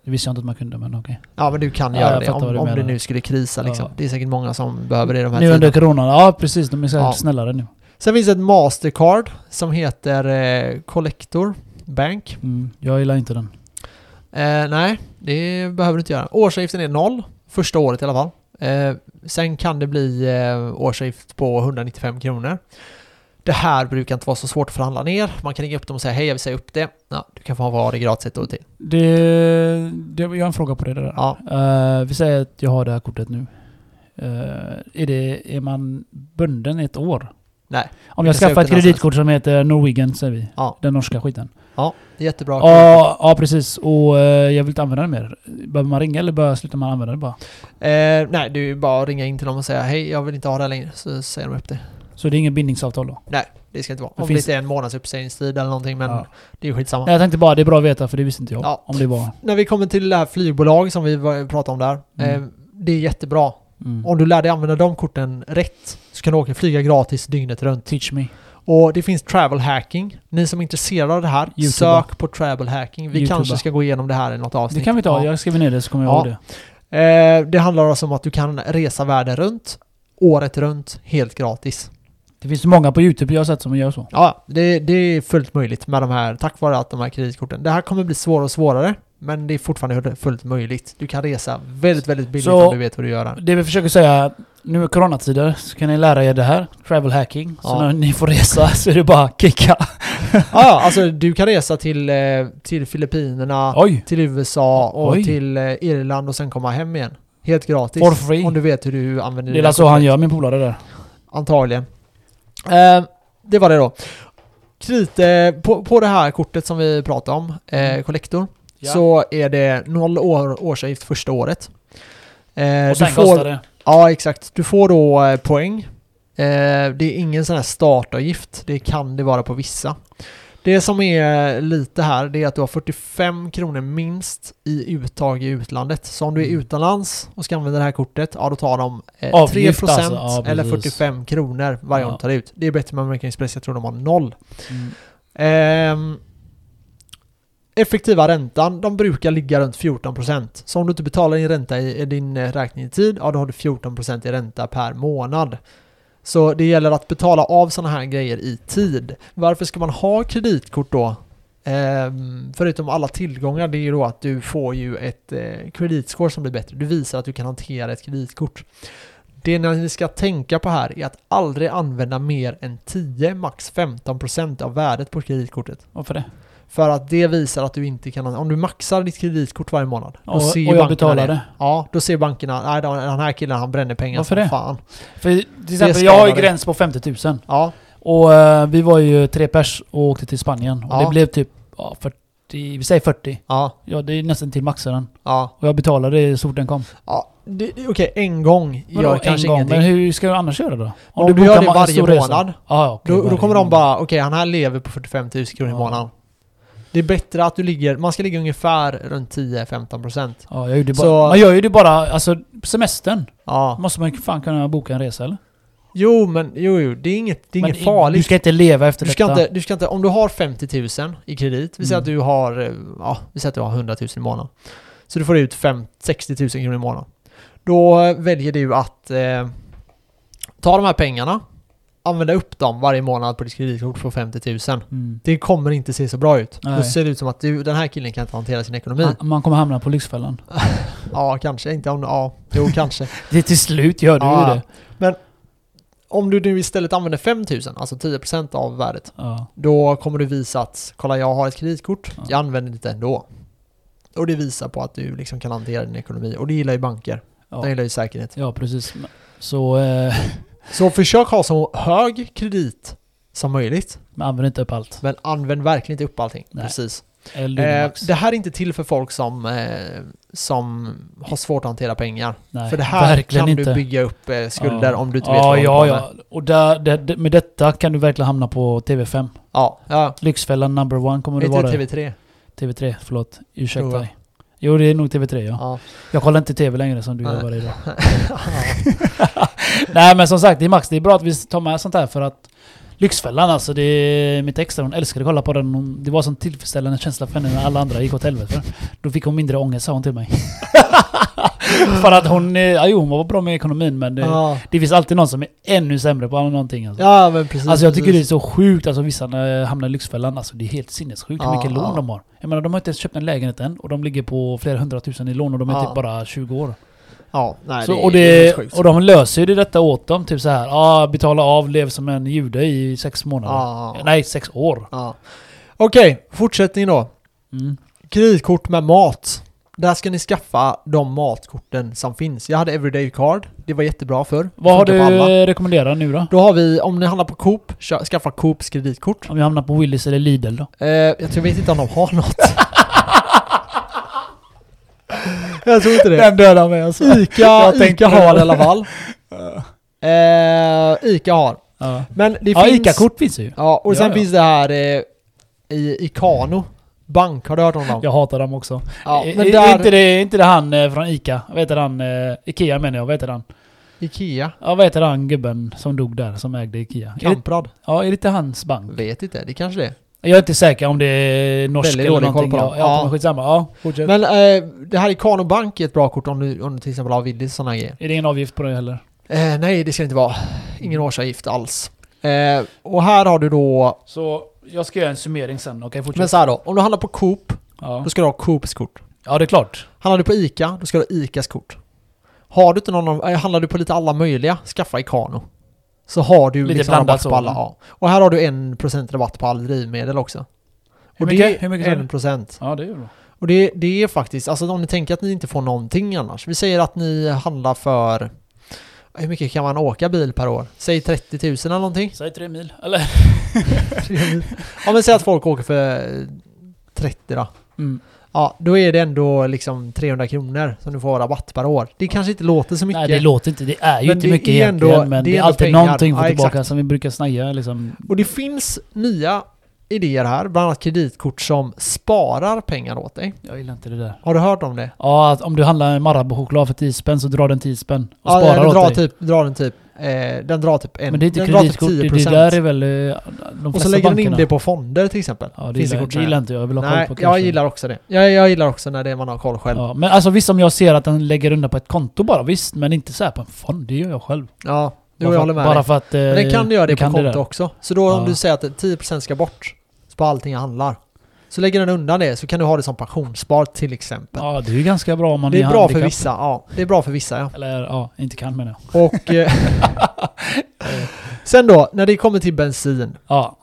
[SPEAKER 2] Det visste jag inte att man kunde, men okej.
[SPEAKER 1] Ja men du kan
[SPEAKER 2] Ja,
[SPEAKER 1] göra
[SPEAKER 2] jag
[SPEAKER 1] det
[SPEAKER 2] fattar vad
[SPEAKER 1] om,
[SPEAKER 2] du
[SPEAKER 1] om det
[SPEAKER 2] menar.
[SPEAKER 1] nu skulle krisa liksom.
[SPEAKER 2] Ja.
[SPEAKER 1] Det är säkert många som behöver det i de här
[SPEAKER 2] Nu under
[SPEAKER 1] tiderna.
[SPEAKER 2] coronan, ja precis. De är så
[SPEAKER 1] Ja.
[SPEAKER 2] snällare nu.
[SPEAKER 1] Sen finns det ett Mastercard som heter eh, Collector Bank.
[SPEAKER 2] Mm, jag gillar inte den.
[SPEAKER 1] Eh, nej, det behöver du inte göra. Årsavgiften är noll, första året i alla fall. Eh, sen kan det bli eh, årsavgift på 195 kronor. Det här brukar inte vara så svårt att förhandla ner. Man kan ringa upp dem och säga hej, jag vill säga upp det. Ja, du kan få ha det gratis ett år till.
[SPEAKER 2] Det, det, jag har en fråga på det där.
[SPEAKER 1] Ja.
[SPEAKER 2] Eh, vi säger att jag har det här kortet nu. Eh, är, det, är man bunden i ett år?
[SPEAKER 1] Nej.
[SPEAKER 2] Om
[SPEAKER 1] Du
[SPEAKER 2] jag
[SPEAKER 1] kan säga upp
[SPEAKER 2] skaffar ett
[SPEAKER 1] det när som
[SPEAKER 2] kreditkort som heter Norwegian säger vi.
[SPEAKER 1] Ja.
[SPEAKER 2] Den norska skiten.
[SPEAKER 1] Ja, det är jättebra.
[SPEAKER 2] Ja, ja precis. Och eh, jag vill inte använda den mer. Behöver man ringa eller bara slutar man använda det bara?
[SPEAKER 1] Eh, nej, du är bara att ringa in till dem och säga hej, jag vill inte ha det här längre. Så säger de upp det.
[SPEAKER 2] Så det är ingen bindningsavtal då?
[SPEAKER 1] Det ska inte vara.
[SPEAKER 2] Det
[SPEAKER 1] Om
[SPEAKER 2] finns-
[SPEAKER 1] det inte är en månads uppsägningstid eller någonting, men
[SPEAKER 2] Ja. Eh.
[SPEAKER 1] det är ju skitsamma.
[SPEAKER 2] Nej, jag tänkte bara det är bra att veta för det visste inte jag.
[SPEAKER 1] Ja.
[SPEAKER 2] Om det var...
[SPEAKER 1] När vi kommer till det här flygbolag som vi var- pratade om där.
[SPEAKER 2] Mm.
[SPEAKER 1] Eh, det är jättebra.
[SPEAKER 2] Mm.
[SPEAKER 1] Om du lär dig använda de korten rätt så kan du åka flyga gratis dygnet runt.
[SPEAKER 2] Teach me.
[SPEAKER 1] Och det finns travel hacking. Ni som är intresserade av det här,
[SPEAKER 2] Youtuba.
[SPEAKER 1] sök på travel hacking. Vi
[SPEAKER 2] Youtuba.
[SPEAKER 1] kanske ska gå igenom det här i något
[SPEAKER 2] Det
[SPEAKER 1] avsnitt.
[SPEAKER 2] kan vi ta.
[SPEAKER 1] Ja.
[SPEAKER 2] Jag skriver ner det så kommer jag
[SPEAKER 1] Ja.
[SPEAKER 2] ihåg det.
[SPEAKER 1] Eh, det handlar alltså om att du kan resa världen runt, året runt, helt gratis.
[SPEAKER 2] Det finns ju många på YouTube jag har sett som gör så.
[SPEAKER 1] Ja, det, det är fullt möjligt med de här, tack vare att de här kreditkorten. Det här kommer bli svårare och svårare, men det är fortfarande fullt möjligt. Du kan resa väldigt, väldigt billigt
[SPEAKER 2] Så-
[SPEAKER 1] om du vet hur du gör. Det.
[SPEAKER 2] Det vi försöker säga, nu i coronatider så kan ni lära er det här. Travel hacking. Så
[SPEAKER 1] Ja.
[SPEAKER 2] när ni får resa så är det bara att kicka.
[SPEAKER 1] Ja, ja, alltså du kan resa till, eh, till Filippinerna,
[SPEAKER 2] Oj!
[SPEAKER 1] till USA och
[SPEAKER 2] Oj.
[SPEAKER 1] till eh, Irland och sen komma hem igen. Helt gratis.
[SPEAKER 2] For free.
[SPEAKER 1] Om du vet hur du använder
[SPEAKER 2] Det är
[SPEAKER 1] dina
[SPEAKER 2] så han gör, min polare där.
[SPEAKER 1] Antagligen. Eh, det var det då. Kredit, eh, på, på det här kortet som vi pratade om, eh, Collector,
[SPEAKER 2] Mm. Ja.
[SPEAKER 1] så är det noll år, årsavgift första året. Eh,
[SPEAKER 2] Och sen
[SPEAKER 1] du får,
[SPEAKER 2] kostar det.
[SPEAKER 1] Ja, exakt. Du får då eh, poäng. Eh, det är ingen sån här startavgift. Det kan det vara på vissa. Det som är lite här, det är att du har 45 kronor minst i uttag i utlandet. Så om du är
[SPEAKER 2] Mm.
[SPEAKER 1] utomlands och ska använda det här kortet, ja då tar de eh, 3%
[SPEAKER 2] Avgift alltså, ja,
[SPEAKER 1] eller
[SPEAKER 2] precis.
[SPEAKER 1] 45 kronor varje
[SPEAKER 2] Ja.
[SPEAKER 1] gång du tar ut. Det är bättre med American Express, jag tror de har noll.
[SPEAKER 2] Mm.
[SPEAKER 1] Ehm, effektiva räntan, de brukar ligga runt 14%. Så om du inte betalar din ränta i, i din eh, räkning i tid, ja då har du 14% i ränta per månad. Så det gäller att betala av sådana här grejer i tid. Varför ska man ha kreditkort då? Ehm, förutom alla tillgångar, det är ju då att du får ju ett eh, kreditscore som blir bättre. Du visar att du kan hantera ett kreditkort. Det ni ska tänka på här är att aldrig använda mer än 10, max 15% av värdet på kreditkortet.
[SPEAKER 2] Varför det?
[SPEAKER 1] För att det visar att du inte kan... Om du maxar ditt kreditkort varje månad. Då
[SPEAKER 2] Och, och
[SPEAKER 1] ser ju
[SPEAKER 2] jag
[SPEAKER 1] bankerna
[SPEAKER 2] betalar
[SPEAKER 1] det.
[SPEAKER 2] det.
[SPEAKER 1] Ja, då ser bankerna... Nej, den den här killen han bränner pengar
[SPEAKER 2] Varför
[SPEAKER 1] som
[SPEAKER 2] det?
[SPEAKER 1] fan.
[SPEAKER 2] För till exempel,
[SPEAKER 1] skadar
[SPEAKER 2] jag har ju
[SPEAKER 1] dig.
[SPEAKER 2] gräns på 50 000.
[SPEAKER 1] Ja,
[SPEAKER 2] Och eh, vi var ju tre pers och åkte till Spanien. Och
[SPEAKER 1] Ja.
[SPEAKER 2] det blev typ, ja, 40, vi säger 40.
[SPEAKER 1] ja,
[SPEAKER 2] Ja, det är nästan till maxaren.
[SPEAKER 1] ja.
[SPEAKER 2] Och jag betalade så fort den kom.
[SPEAKER 1] ja. Det- det- Okej, en gång
[SPEAKER 2] Vadå,
[SPEAKER 1] gör kanske
[SPEAKER 2] gång?
[SPEAKER 1] ingenting.
[SPEAKER 2] Men hur ska du annars göra då?
[SPEAKER 1] Om du gör
[SPEAKER 2] bokar
[SPEAKER 1] det
[SPEAKER 2] ma- en
[SPEAKER 1] varje
[SPEAKER 2] stor resa.
[SPEAKER 1] månad,
[SPEAKER 2] Ja, ja, okej,
[SPEAKER 1] Då, då
[SPEAKER 2] varje
[SPEAKER 1] kommer de
[SPEAKER 2] månad.
[SPEAKER 1] bara, okej han här lever på 45 000 kronor i
[SPEAKER 2] Ja.
[SPEAKER 1] månaden. Det är bättre att du ligger, man ska ligga ungefär runt 10-15%.
[SPEAKER 2] Ja, jag gjorde bara,
[SPEAKER 1] Så-
[SPEAKER 2] Man gör ju det bara, alltså på semestern.
[SPEAKER 1] Ja.
[SPEAKER 2] Måste man ju fan kunna boka en resa eller?
[SPEAKER 1] Jo men, jo jo, det är inget, det är
[SPEAKER 2] Men
[SPEAKER 1] inget
[SPEAKER 2] i-
[SPEAKER 1] farligt.
[SPEAKER 2] Du ska inte leva efter
[SPEAKER 1] Du ska,
[SPEAKER 2] detta.
[SPEAKER 1] inte, du ska inte, om du har 50 000 i kredit, vi säger
[SPEAKER 2] Mm.
[SPEAKER 1] att du har, eh, ja, vi säger att du har 100 000 i månaden. Så du får ut fem- 60 000 kronor i månaden. Då eh, väljer du att eh, ta de här pengarna, använda upp dem varje månad på ditt kreditkort på 50 000.
[SPEAKER 2] Mm.
[SPEAKER 1] Det kommer inte se så bra ut. Då
[SPEAKER 2] Nej.
[SPEAKER 1] ser det ut som att du, den här killen kan inte hantera sin ekonomi.
[SPEAKER 2] Man, man kommer hamna på Lyxfällan.
[SPEAKER 1] Ja, kanske inte. Om, ja, jo, kanske.
[SPEAKER 2] Det är till slut gör du
[SPEAKER 1] Ja.
[SPEAKER 2] ju det.
[SPEAKER 1] Om du nu istället använder 5 000, alltså 10% av värdet,
[SPEAKER 2] Ja.
[SPEAKER 1] Då kommer du visa att kolla jag har ett kreditkort,
[SPEAKER 2] Ja.
[SPEAKER 1] jag använder det inte ändå. Och det visar på att du liksom kan hantera din ekonomi och det gillar ju banker.
[SPEAKER 2] Ja.
[SPEAKER 1] De gillar ju säkerhet.
[SPEAKER 2] ja, precis. Så eh,
[SPEAKER 1] Så försök ha så hög kredit som möjligt.
[SPEAKER 2] man använder inte upp allt.
[SPEAKER 1] Men använd verkligen inte upp allting.
[SPEAKER 2] Nej.
[SPEAKER 1] Precis.
[SPEAKER 2] Eller
[SPEAKER 1] Eh,
[SPEAKER 2] max.
[SPEAKER 1] det här är inte till för folk som, eh, som har svårt att hantera pengar.
[SPEAKER 2] Nej,
[SPEAKER 1] för det här
[SPEAKER 2] verkligen
[SPEAKER 1] kan
[SPEAKER 2] inte.
[SPEAKER 1] du bygga upp eh, skulder
[SPEAKER 2] Ja.
[SPEAKER 1] om du inte vet
[SPEAKER 2] ja,
[SPEAKER 1] vad du
[SPEAKER 2] ja,
[SPEAKER 1] håller på med.
[SPEAKER 2] ja. Och där, där, där- med detta kan du verkligen hamna på TV5.
[SPEAKER 1] ja. ja.
[SPEAKER 2] Lyxfällan number one kommer
[SPEAKER 1] Är
[SPEAKER 2] det
[SPEAKER 1] inte
[SPEAKER 2] vara.
[SPEAKER 1] det TV3?
[SPEAKER 2] TV3, förlåt. Ursäkta
[SPEAKER 1] Tror jag.
[SPEAKER 2] dig. Jo, det är nog TV3 ja.
[SPEAKER 1] Ja.
[SPEAKER 2] Jag kollar inte TV längre som du gör
[SPEAKER 1] Nej.
[SPEAKER 2] varje dag. Nej men som sagt, det är Max. Det är bra att vi tar med sånt här för att Lyxfällan alltså, det är mitt extra. Hon älskade att kolla på den. Hon, det var en sån tillfredsställande känsla för henne när alla andra gick åt helvete. Då fick hon mindre ångest sa hon till mig. för att hon, eh, ja, jo hon var bra med ekonomin men det,
[SPEAKER 1] Ja,
[SPEAKER 2] det finns alltid någon som är ännu sämre på någonting alltså.
[SPEAKER 1] ja men precis.
[SPEAKER 2] Alltså jag tycker
[SPEAKER 1] precis.
[SPEAKER 2] det är så sjukt, alltså vissa eh, hamnar i Lyxfällan, alltså det är helt sinnessjukt hur
[SPEAKER 1] Ja,
[SPEAKER 2] mycket lån
[SPEAKER 1] ja.
[SPEAKER 2] de har. Jag menar de har inte ens köpt en lägenhet än och de ligger på flera hundratusen i lån och de är
[SPEAKER 1] Ja.
[SPEAKER 2] typ bara 20 år.
[SPEAKER 1] Ja, nej,
[SPEAKER 2] så,
[SPEAKER 1] det,
[SPEAKER 2] och,
[SPEAKER 1] är
[SPEAKER 2] det,
[SPEAKER 1] helt sjukt.
[SPEAKER 2] och de löser ju det detta åt dem, typ så här, ah, betala av, lev som en jude i sex månader.
[SPEAKER 1] Ja, ja,
[SPEAKER 2] Nej, sex år.
[SPEAKER 1] ja. Okej, fortsättning då.
[SPEAKER 2] Mm.
[SPEAKER 1] Kreditkort med mat. Där ska ni skaffa de matkorten som finns. Jag hade Everyday Card. Det var jättebra för.
[SPEAKER 2] Vad har du rekommenderat nu då?
[SPEAKER 1] Då har vi, om ni handlar på Coop, kö- skaffa Coops kreditkort.
[SPEAKER 2] Om jag hamnar på Willys eller Lidl då?
[SPEAKER 1] Eh, jag tror- vet inte om de har något. jag tror inte det.
[SPEAKER 2] dödar mig alltså.
[SPEAKER 1] Ica,
[SPEAKER 2] Jag tänkte
[SPEAKER 1] Ica har
[SPEAKER 2] det.
[SPEAKER 1] i alla fall. Eh, Ica har.
[SPEAKER 2] Ja,
[SPEAKER 1] Men det
[SPEAKER 2] ja
[SPEAKER 1] finns...
[SPEAKER 2] Ica-kort finns ju.
[SPEAKER 1] Ja, och
[SPEAKER 2] Ja,
[SPEAKER 1] sen
[SPEAKER 2] ja.
[SPEAKER 1] finns det här eh, i Ikano. Bank, har du hört om dem?
[SPEAKER 2] Jag hatar dem också.
[SPEAKER 1] Ja,
[SPEAKER 2] I-
[SPEAKER 1] men
[SPEAKER 2] i-
[SPEAKER 1] där-
[SPEAKER 2] inte, det, inte det han eh, från Ica? Vad heter han? eh, Ikea menar jag. Vad heter han?
[SPEAKER 1] Ikea.
[SPEAKER 2] Ja, vad heter han gubben som dog där, som ägde Ikea? Är det,
[SPEAKER 1] Kamprad.
[SPEAKER 2] ja, är det inte hans bank?
[SPEAKER 1] Vet inte, det kanske det är.
[SPEAKER 2] Jag är inte säker om det är norsk
[SPEAKER 1] Väldigt
[SPEAKER 2] eller
[SPEAKER 1] dålig koll
[SPEAKER 2] någonting.
[SPEAKER 1] på
[SPEAKER 2] Ja,
[SPEAKER 1] dem.
[SPEAKER 2] ja.
[SPEAKER 1] Ja.
[SPEAKER 2] skitsamma. Ja, fortsätt.
[SPEAKER 1] Men eh, det här Ikano Bank är ett bra kort om du, om du till exempel har Willys sådana grejer.
[SPEAKER 2] Är det ingen avgift på det heller?
[SPEAKER 1] Eh, nej, det ska det inte vara. Ingen årsavgift alls. Eh, och här har du då...
[SPEAKER 2] Så jag ska göra en summering sen. Okej,
[SPEAKER 1] Men
[SPEAKER 2] fortsätt.
[SPEAKER 1] så här då, om du handlar på Coop,
[SPEAKER 2] Ja.
[SPEAKER 1] då ska du ha Coops kort.
[SPEAKER 2] ja, det är klart.
[SPEAKER 1] Handlar du på ICA, då ska du ha ICAs kort. Har du inte någon av, eh, handlar du på lite alla möjliga, skaffa Ikano. Så har du
[SPEAKER 2] Lite
[SPEAKER 1] liksom
[SPEAKER 2] blandat
[SPEAKER 1] rabatt
[SPEAKER 2] så,
[SPEAKER 1] på alla.
[SPEAKER 2] va?
[SPEAKER 1] Ja. Och här har du 1% rabatt på all drivmedel också.
[SPEAKER 2] Hur
[SPEAKER 1] Och
[SPEAKER 2] mycket?
[SPEAKER 1] det
[SPEAKER 2] Hur mycket sa
[SPEAKER 1] är
[SPEAKER 2] du?
[SPEAKER 1] 1%.
[SPEAKER 2] Ja, det är ju bra.
[SPEAKER 1] Och det, det är faktiskt, alltså om ni tänker att ni inte får någonting annars. Vi säger att ni handlar för, eh, hur mycket kan man åka bil per år? Säg 30 000 eller någonting.
[SPEAKER 2] Säg tre mil. Eller?
[SPEAKER 1] ja men säg att folk åker för eh, 30 då.
[SPEAKER 2] Mm.
[SPEAKER 1] Ja, då är det ändå liksom 300 kronor som du får rabatt per år. Det kanske inte låter så mycket.
[SPEAKER 2] Nej, det låter inte. Det är ju
[SPEAKER 1] Men
[SPEAKER 2] inte
[SPEAKER 1] det
[SPEAKER 2] mycket
[SPEAKER 1] är ändå-
[SPEAKER 2] egentligen. Men
[SPEAKER 1] det är
[SPEAKER 2] det är,
[SPEAKER 1] ändå
[SPEAKER 2] alltid
[SPEAKER 1] pengar.
[SPEAKER 2] någonting för
[SPEAKER 1] Ja,
[SPEAKER 2] tillbaka
[SPEAKER 1] exakt.
[SPEAKER 2] som vi brukar snaja liksom.
[SPEAKER 1] Och det finns nya idéer här, bland annat kreditkort som sparar pengar åt dig.
[SPEAKER 2] Jag gillar inte det där.
[SPEAKER 1] Har du hört om det?
[SPEAKER 2] Ja, att om du handlar en Marabou-choklad för 10 spänn så drar den 10 spänn. Och
[SPEAKER 1] Ja,
[SPEAKER 2] sparar
[SPEAKER 1] den
[SPEAKER 2] åt
[SPEAKER 1] drar
[SPEAKER 2] dig.
[SPEAKER 1] typ, drar den typ, eh, den drar typ en,
[SPEAKER 2] Men det är inte
[SPEAKER 1] den drar typ
[SPEAKER 2] kreditkort. det- det där är
[SPEAKER 1] 10%.
[SPEAKER 2] väl eh, de
[SPEAKER 1] Och så
[SPEAKER 2] flesta
[SPEAKER 1] lägger den in
[SPEAKER 2] bankerna.
[SPEAKER 1] det på fonder till exempel.
[SPEAKER 2] Ja, det
[SPEAKER 1] Finns det
[SPEAKER 2] gillar,
[SPEAKER 1] kort
[SPEAKER 2] det
[SPEAKER 1] som
[SPEAKER 2] gillar inte jag. Jag vill ha koll
[SPEAKER 1] Nej,
[SPEAKER 2] på
[SPEAKER 1] jag
[SPEAKER 2] cashen.
[SPEAKER 1] gillar också det. Jag, jag gillar också när det är man har koll själv. Ja.
[SPEAKER 2] Ja, men alltså visst om jag ser att den lägger undan på ett konto bara, visst. Men inte så här på en fond, det gör jag själv.
[SPEAKER 1] jo,
[SPEAKER 2] bara,
[SPEAKER 1] jag håller med
[SPEAKER 2] bara
[SPEAKER 1] dig.
[SPEAKER 2] för att... Eh,
[SPEAKER 1] Men den kan göra det
[SPEAKER 2] du
[SPEAKER 1] på
[SPEAKER 2] kan
[SPEAKER 1] konto
[SPEAKER 2] där.
[SPEAKER 1] också. Så då
[SPEAKER 2] Ja.
[SPEAKER 1] om du säger att 10% ska bort på allting jag handlar. Så lägger den undan det så kan du ha det som pensionsspar till exempel.
[SPEAKER 2] Ja, det är ju ganska bra om man
[SPEAKER 1] det är bra för
[SPEAKER 2] handikapp.
[SPEAKER 1] vissa, ja. Det är bra för vissa ja.
[SPEAKER 2] Eller ja, inte kan menar jag.
[SPEAKER 1] Och... eh, Sen då, när det kommer till bensin.
[SPEAKER 2] Ja,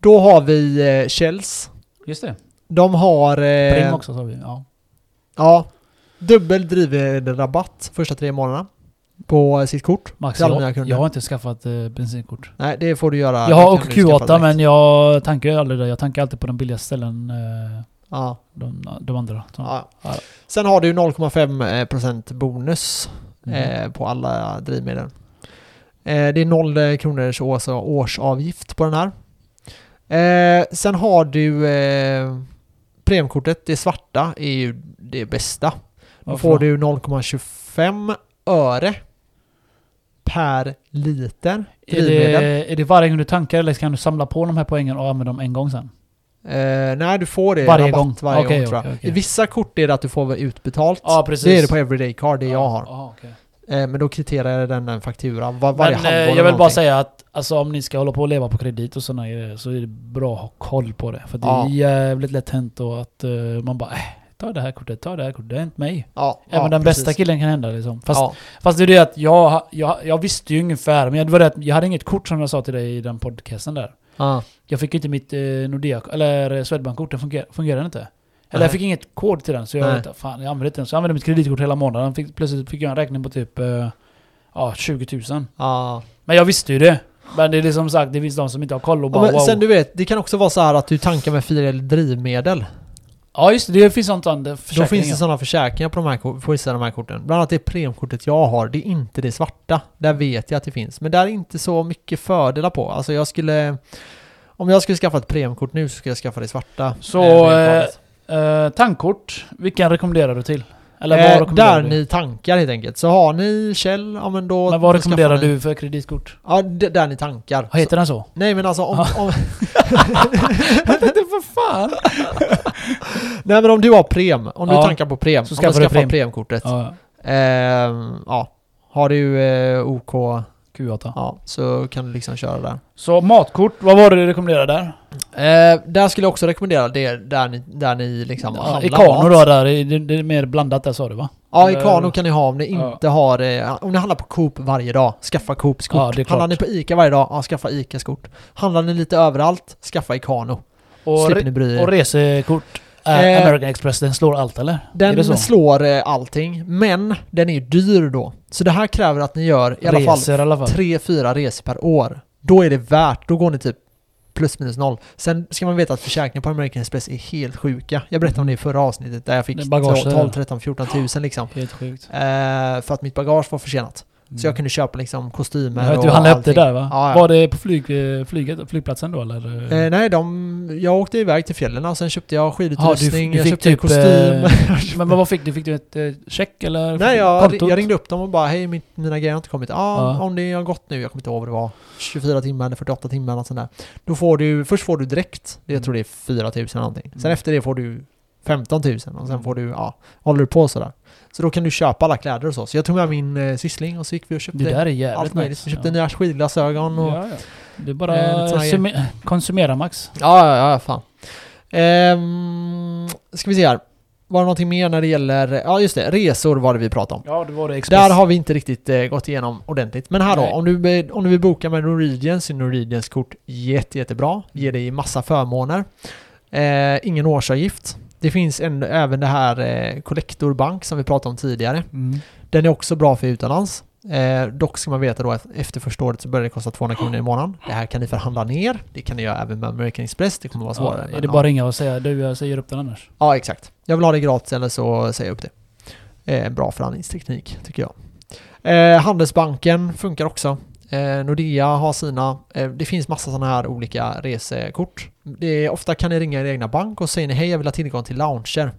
[SPEAKER 1] Då har vi eh, Shells.
[SPEAKER 2] just det.
[SPEAKER 1] De har... eh,
[SPEAKER 2] Pring också sa vi. Ja.
[SPEAKER 1] Ja. Dubbel drivmedelrabatt första tre månaderna. På eh, sitt kort.
[SPEAKER 2] Max,
[SPEAKER 1] till alla
[SPEAKER 2] jag,
[SPEAKER 1] mina kunder.
[SPEAKER 2] jag har inte skaffat eh, bensinkort.
[SPEAKER 1] Nej, det får du göra.
[SPEAKER 2] jag har
[SPEAKER 1] Det
[SPEAKER 2] och
[SPEAKER 1] kan du skaffa
[SPEAKER 2] Q8
[SPEAKER 1] direkt.
[SPEAKER 2] men jag tankar ju aldrig där. Jag tankar alltid på de billigaste ställen. Eh,
[SPEAKER 1] Ja,
[SPEAKER 2] de, de andra. Så.
[SPEAKER 1] ja.
[SPEAKER 2] Ja.
[SPEAKER 1] Sen har du 0,5% eh, procent bonus
[SPEAKER 2] Mm.
[SPEAKER 1] eh, på alla drivmedel. Eh, det är 0 eh, kronors års, årsavgift på den här. Eh, sen har du eh, premiumkortet, det svarta, är ju det bästa. Då
[SPEAKER 2] Varför
[SPEAKER 1] får
[SPEAKER 2] då?
[SPEAKER 1] du 0,25 öre per liter
[SPEAKER 2] Är
[SPEAKER 1] drivmedel.
[SPEAKER 2] det, är det varje gång du tankar eller kan du samla på de här poängen och använda dem en gång sen?
[SPEAKER 1] Eh, nej, du får det
[SPEAKER 2] Varje
[SPEAKER 1] rabatt
[SPEAKER 2] gång?
[SPEAKER 1] varje
[SPEAKER 2] Okej,
[SPEAKER 1] gång tror jag.
[SPEAKER 2] okej, okej.
[SPEAKER 1] I vissa kort är det att du får utbetalt.
[SPEAKER 2] Ja, precis.
[SPEAKER 1] Det är det på Everyday Card, det jag har.
[SPEAKER 2] Ah, okay.
[SPEAKER 1] Eh, men då kvitterar jag den en faktura var, varje
[SPEAKER 2] Men
[SPEAKER 1] halvår
[SPEAKER 2] eh,
[SPEAKER 1] eller
[SPEAKER 2] jag vill bara
[SPEAKER 1] någonting.
[SPEAKER 2] säga att alltså, om ni ska hålla på och leva på kredit och sådana grejer så är det bra att ha koll på det. För det är
[SPEAKER 1] Ja.
[SPEAKER 2] jävligt lätt hänt och att eh, man bara äh, ta det här kortet, ta det här kortet, det har hänt mig.
[SPEAKER 1] Ja,
[SPEAKER 2] Även
[SPEAKER 1] ja,
[SPEAKER 2] den
[SPEAKER 1] precis.
[SPEAKER 2] bästa killen kan hända liksom. Fast,
[SPEAKER 1] ja.
[SPEAKER 2] fast det är det att jag, jag, jag visste ju ungefär, men det var det att jag hade inget kort som jag sa till dig i den podcasten där.
[SPEAKER 1] Ja.
[SPEAKER 2] Jag fick inte mitt eh, Nordea, eller eh, Swedbank-kort, den funger, fungerade inte. Eller
[SPEAKER 1] Nej.
[SPEAKER 2] jag fick inget kod till den, så jag
[SPEAKER 1] Nej.
[SPEAKER 2] vet, fan jag använde inte den. Så jag använde mitt kreditkort hela månaden. Fick, plötsligt fick jag en räkning på typ eh, ja, 20 000.
[SPEAKER 1] Ja.
[SPEAKER 2] Men jag visste ju det. Men det är det som sagt, det finns de som inte har koll och
[SPEAKER 1] Ja,
[SPEAKER 2] bara
[SPEAKER 1] men
[SPEAKER 2] wow.
[SPEAKER 1] Sen du vet, det kan också vara så här att du tankar med fyra drivmedel.
[SPEAKER 2] Ja just det, det finns sånt andra
[SPEAKER 1] Då
[SPEAKER 2] försäkringar.
[SPEAKER 1] finns det sådana försäkringar på, de här, ko- på vissa av de här korten. Bland annat det premkortet jag har, det är inte det svarta. Där vet jag att det finns. Men där är inte så mycket fördelar på. Alltså jag skulle... Om jag skulle skaffa ett premkort nu så skulle jag skaffa det svarta.
[SPEAKER 2] Så,
[SPEAKER 1] eh, premkortet.
[SPEAKER 2] Eh, tankkort, vilken rekommenderar du till? Eller vad
[SPEAKER 1] Eh,
[SPEAKER 2] rekommenderar
[SPEAKER 1] där
[SPEAKER 2] du?
[SPEAKER 1] ni tankar helt enkelt. Så har ni Kjell, ja men då...
[SPEAKER 2] Men vad
[SPEAKER 1] då skaffar
[SPEAKER 2] rekommenderar
[SPEAKER 1] ni-
[SPEAKER 2] du för kreditkort?
[SPEAKER 1] Ja, d- där ni tankar.
[SPEAKER 2] Vad heter den så?
[SPEAKER 1] Nej men alltså om, om,
[SPEAKER 2] Jag tänkte för fan!
[SPEAKER 1] nej, men om du har Prem, om
[SPEAKER 2] Ja.
[SPEAKER 1] du tankar på Prem,
[SPEAKER 2] Så
[SPEAKER 1] så om du
[SPEAKER 2] skaffar du
[SPEAKER 1] skaffar
[SPEAKER 2] Prem.
[SPEAKER 1] Prem-kortet. Ja.
[SPEAKER 2] Ja,
[SPEAKER 1] ja. Har du eh, OK,
[SPEAKER 2] Q8.
[SPEAKER 1] ja, så kan du liksom köra där.
[SPEAKER 2] Så matkort, vad var det du rekommenderade där?
[SPEAKER 1] Eh, där skulle jag också rekommendera det där ni, där ni liksom
[SPEAKER 2] Ja, I
[SPEAKER 1] handlar
[SPEAKER 2] Kano
[SPEAKER 1] mat.
[SPEAKER 2] då där, i- det, det är mer blandat där sa du va?
[SPEAKER 1] Ja, i
[SPEAKER 2] Eller-
[SPEAKER 1] Kano kan ni ha om ni
[SPEAKER 2] Ja.
[SPEAKER 1] inte har... Eh, om ni handlar på Coop varje dag, skaffa Coops kort.
[SPEAKER 2] Ja, det är klart.
[SPEAKER 1] handlar ni på Ica varje dag, ja, skaffa Icas kort. Handlar ni lite överallt, skaffa i Kano.
[SPEAKER 2] Och,
[SPEAKER 1] Slipper
[SPEAKER 2] re,
[SPEAKER 1] ni bry
[SPEAKER 2] och
[SPEAKER 1] er.
[SPEAKER 2] resekort? Är
[SPEAKER 1] Eh,
[SPEAKER 2] American Express, den slår allt eller? är det så?
[SPEAKER 1] Den slår eh, allting, men den är ju dyr då. Så det här kräver att ni gör i alla fall
[SPEAKER 2] Resor i alla fall.
[SPEAKER 1] tre fyra resor per år. Då är det värt, då går ni typ plus minus noll. Sen ska man veta att försäkringen på American Express är helt sjuka. Jag berättade om det i förra avsnittet där jag
[SPEAKER 2] Det är
[SPEAKER 1] fick
[SPEAKER 2] bagage,
[SPEAKER 1] 12,
[SPEAKER 2] eller?
[SPEAKER 1] 13, 14 tusen liksom.
[SPEAKER 2] Helt sjukt.
[SPEAKER 1] Eh, för att mitt bagage var försenat. Så jag kunde köpa liksom kostymer
[SPEAKER 2] Mm. Jag vet,
[SPEAKER 1] och
[SPEAKER 2] du handlade upp det där va?
[SPEAKER 1] Ja, ja.
[SPEAKER 2] Var det på flyg, eh, flyget, flygplatsen då eller?
[SPEAKER 1] Eh, nej, de, jag åkte iväg till fjällen och sen köpte jag
[SPEAKER 2] Ja,
[SPEAKER 1] skidutrustning,
[SPEAKER 2] du- du
[SPEAKER 1] jag
[SPEAKER 2] fick
[SPEAKER 1] köpte
[SPEAKER 2] typ,
[SPEAKER 1] kostym.
[SPEAKER 2] eh, Men vad vad fick du? Fick du ett eh, check eller?
[SPEAKER 1] nej,
[SPEAKER 2] fick-
[SPEAKER 1] jag,
[SPEAKER 2] kontot?
[SPEAKER 1] jag ringde upp dem och bara hej, mitt, mina grejer har inte kommit. Ah,
[SPEAKER 2] Ja.
[SPEAKER 1] Om det har gått nu, jag kommer inte ihåg vad det var, 24 timmar eller 48 timmar eller något sånt där. Då får du, först får du direkt, jag tror det är 4 000 eller någonting. Sen
[SPEAKER 2] Mm.
[SPEAKER 1] efter det får du 15 000 och sen
[SPEAKER 2] Mm.
[SPEAKER 1] får du, ja, håller du på sådär. Så då kan du köpa alla kläder och så. Så jag tog med min eh, syssling och så gick vi och
[SPEAKER 2] Det
[SPEAKER 1] köpte
[SPEAKER 2] där är jävligt
[SPEAKER 1] allt möjligt.
[SPEAKER 2] nice.
[SPEAKER 1] Vi eh, köpte nya skidglasögon och
[SPEAKER 2] Ja, ja. Det är
[SPEAKER 1] Eh,
[SPEAKER 2] bara
[SPEAKER 1] lite såna här-
[SPEAKER 2] summe- konsumera max.
[SPEAKER 1] Ja, ja, ja, fan. Ehm, ska vi se här. Var det någonting mer när det gäller... Ja, just det. Resor var det vi pratade om.
[SPEAKER 2] Ja, det var det
[SPEAKER 1] Där har vi inte riktigt eh, gått igenom ordentligt. Men här då,
[SPEAKER 2] Nej.
[SPEAKER 1] om du, be- om du vill boka med Norwegian så är Norwegians kort jätte, jättebra. Ger dig massa förmåner. Eh, ingen årsavgift. Det finns en, även det här eh, Collector Bank som vi pratade om tidigare.
[SPEAKER 2] Mm.
[SPEAKER 1] Den är också bra för utomlands. Eh, dock ska man veta då att efter första året så börjar det kosta 200 kronor i månaden. Det här kan ni förhandla ner. Det kan ni göra även med American Express. Det kommer vara
[SPEAKER 2] Ja,
[SPEAKER 1] svårare.
[SPEAKER 2] är
[SPEAKER 1] men
[SPEAKER 2] det bara att ringa och säga du, jag säger upp den annars?
[SPEAKER 1] ja. ja, exakt. Jag vill ha det gratis eller så säger jag upp det. Eh, bra förhandlingsteknik tycker jag. Eh, Handelsbanken funkar också. Eh, Nordea har sina. Eh, det finns massa sådana här olika resekort. Det är, ofta kan ni ringa er egna bank och säger ni hej jag vill ha tillgång till lounger.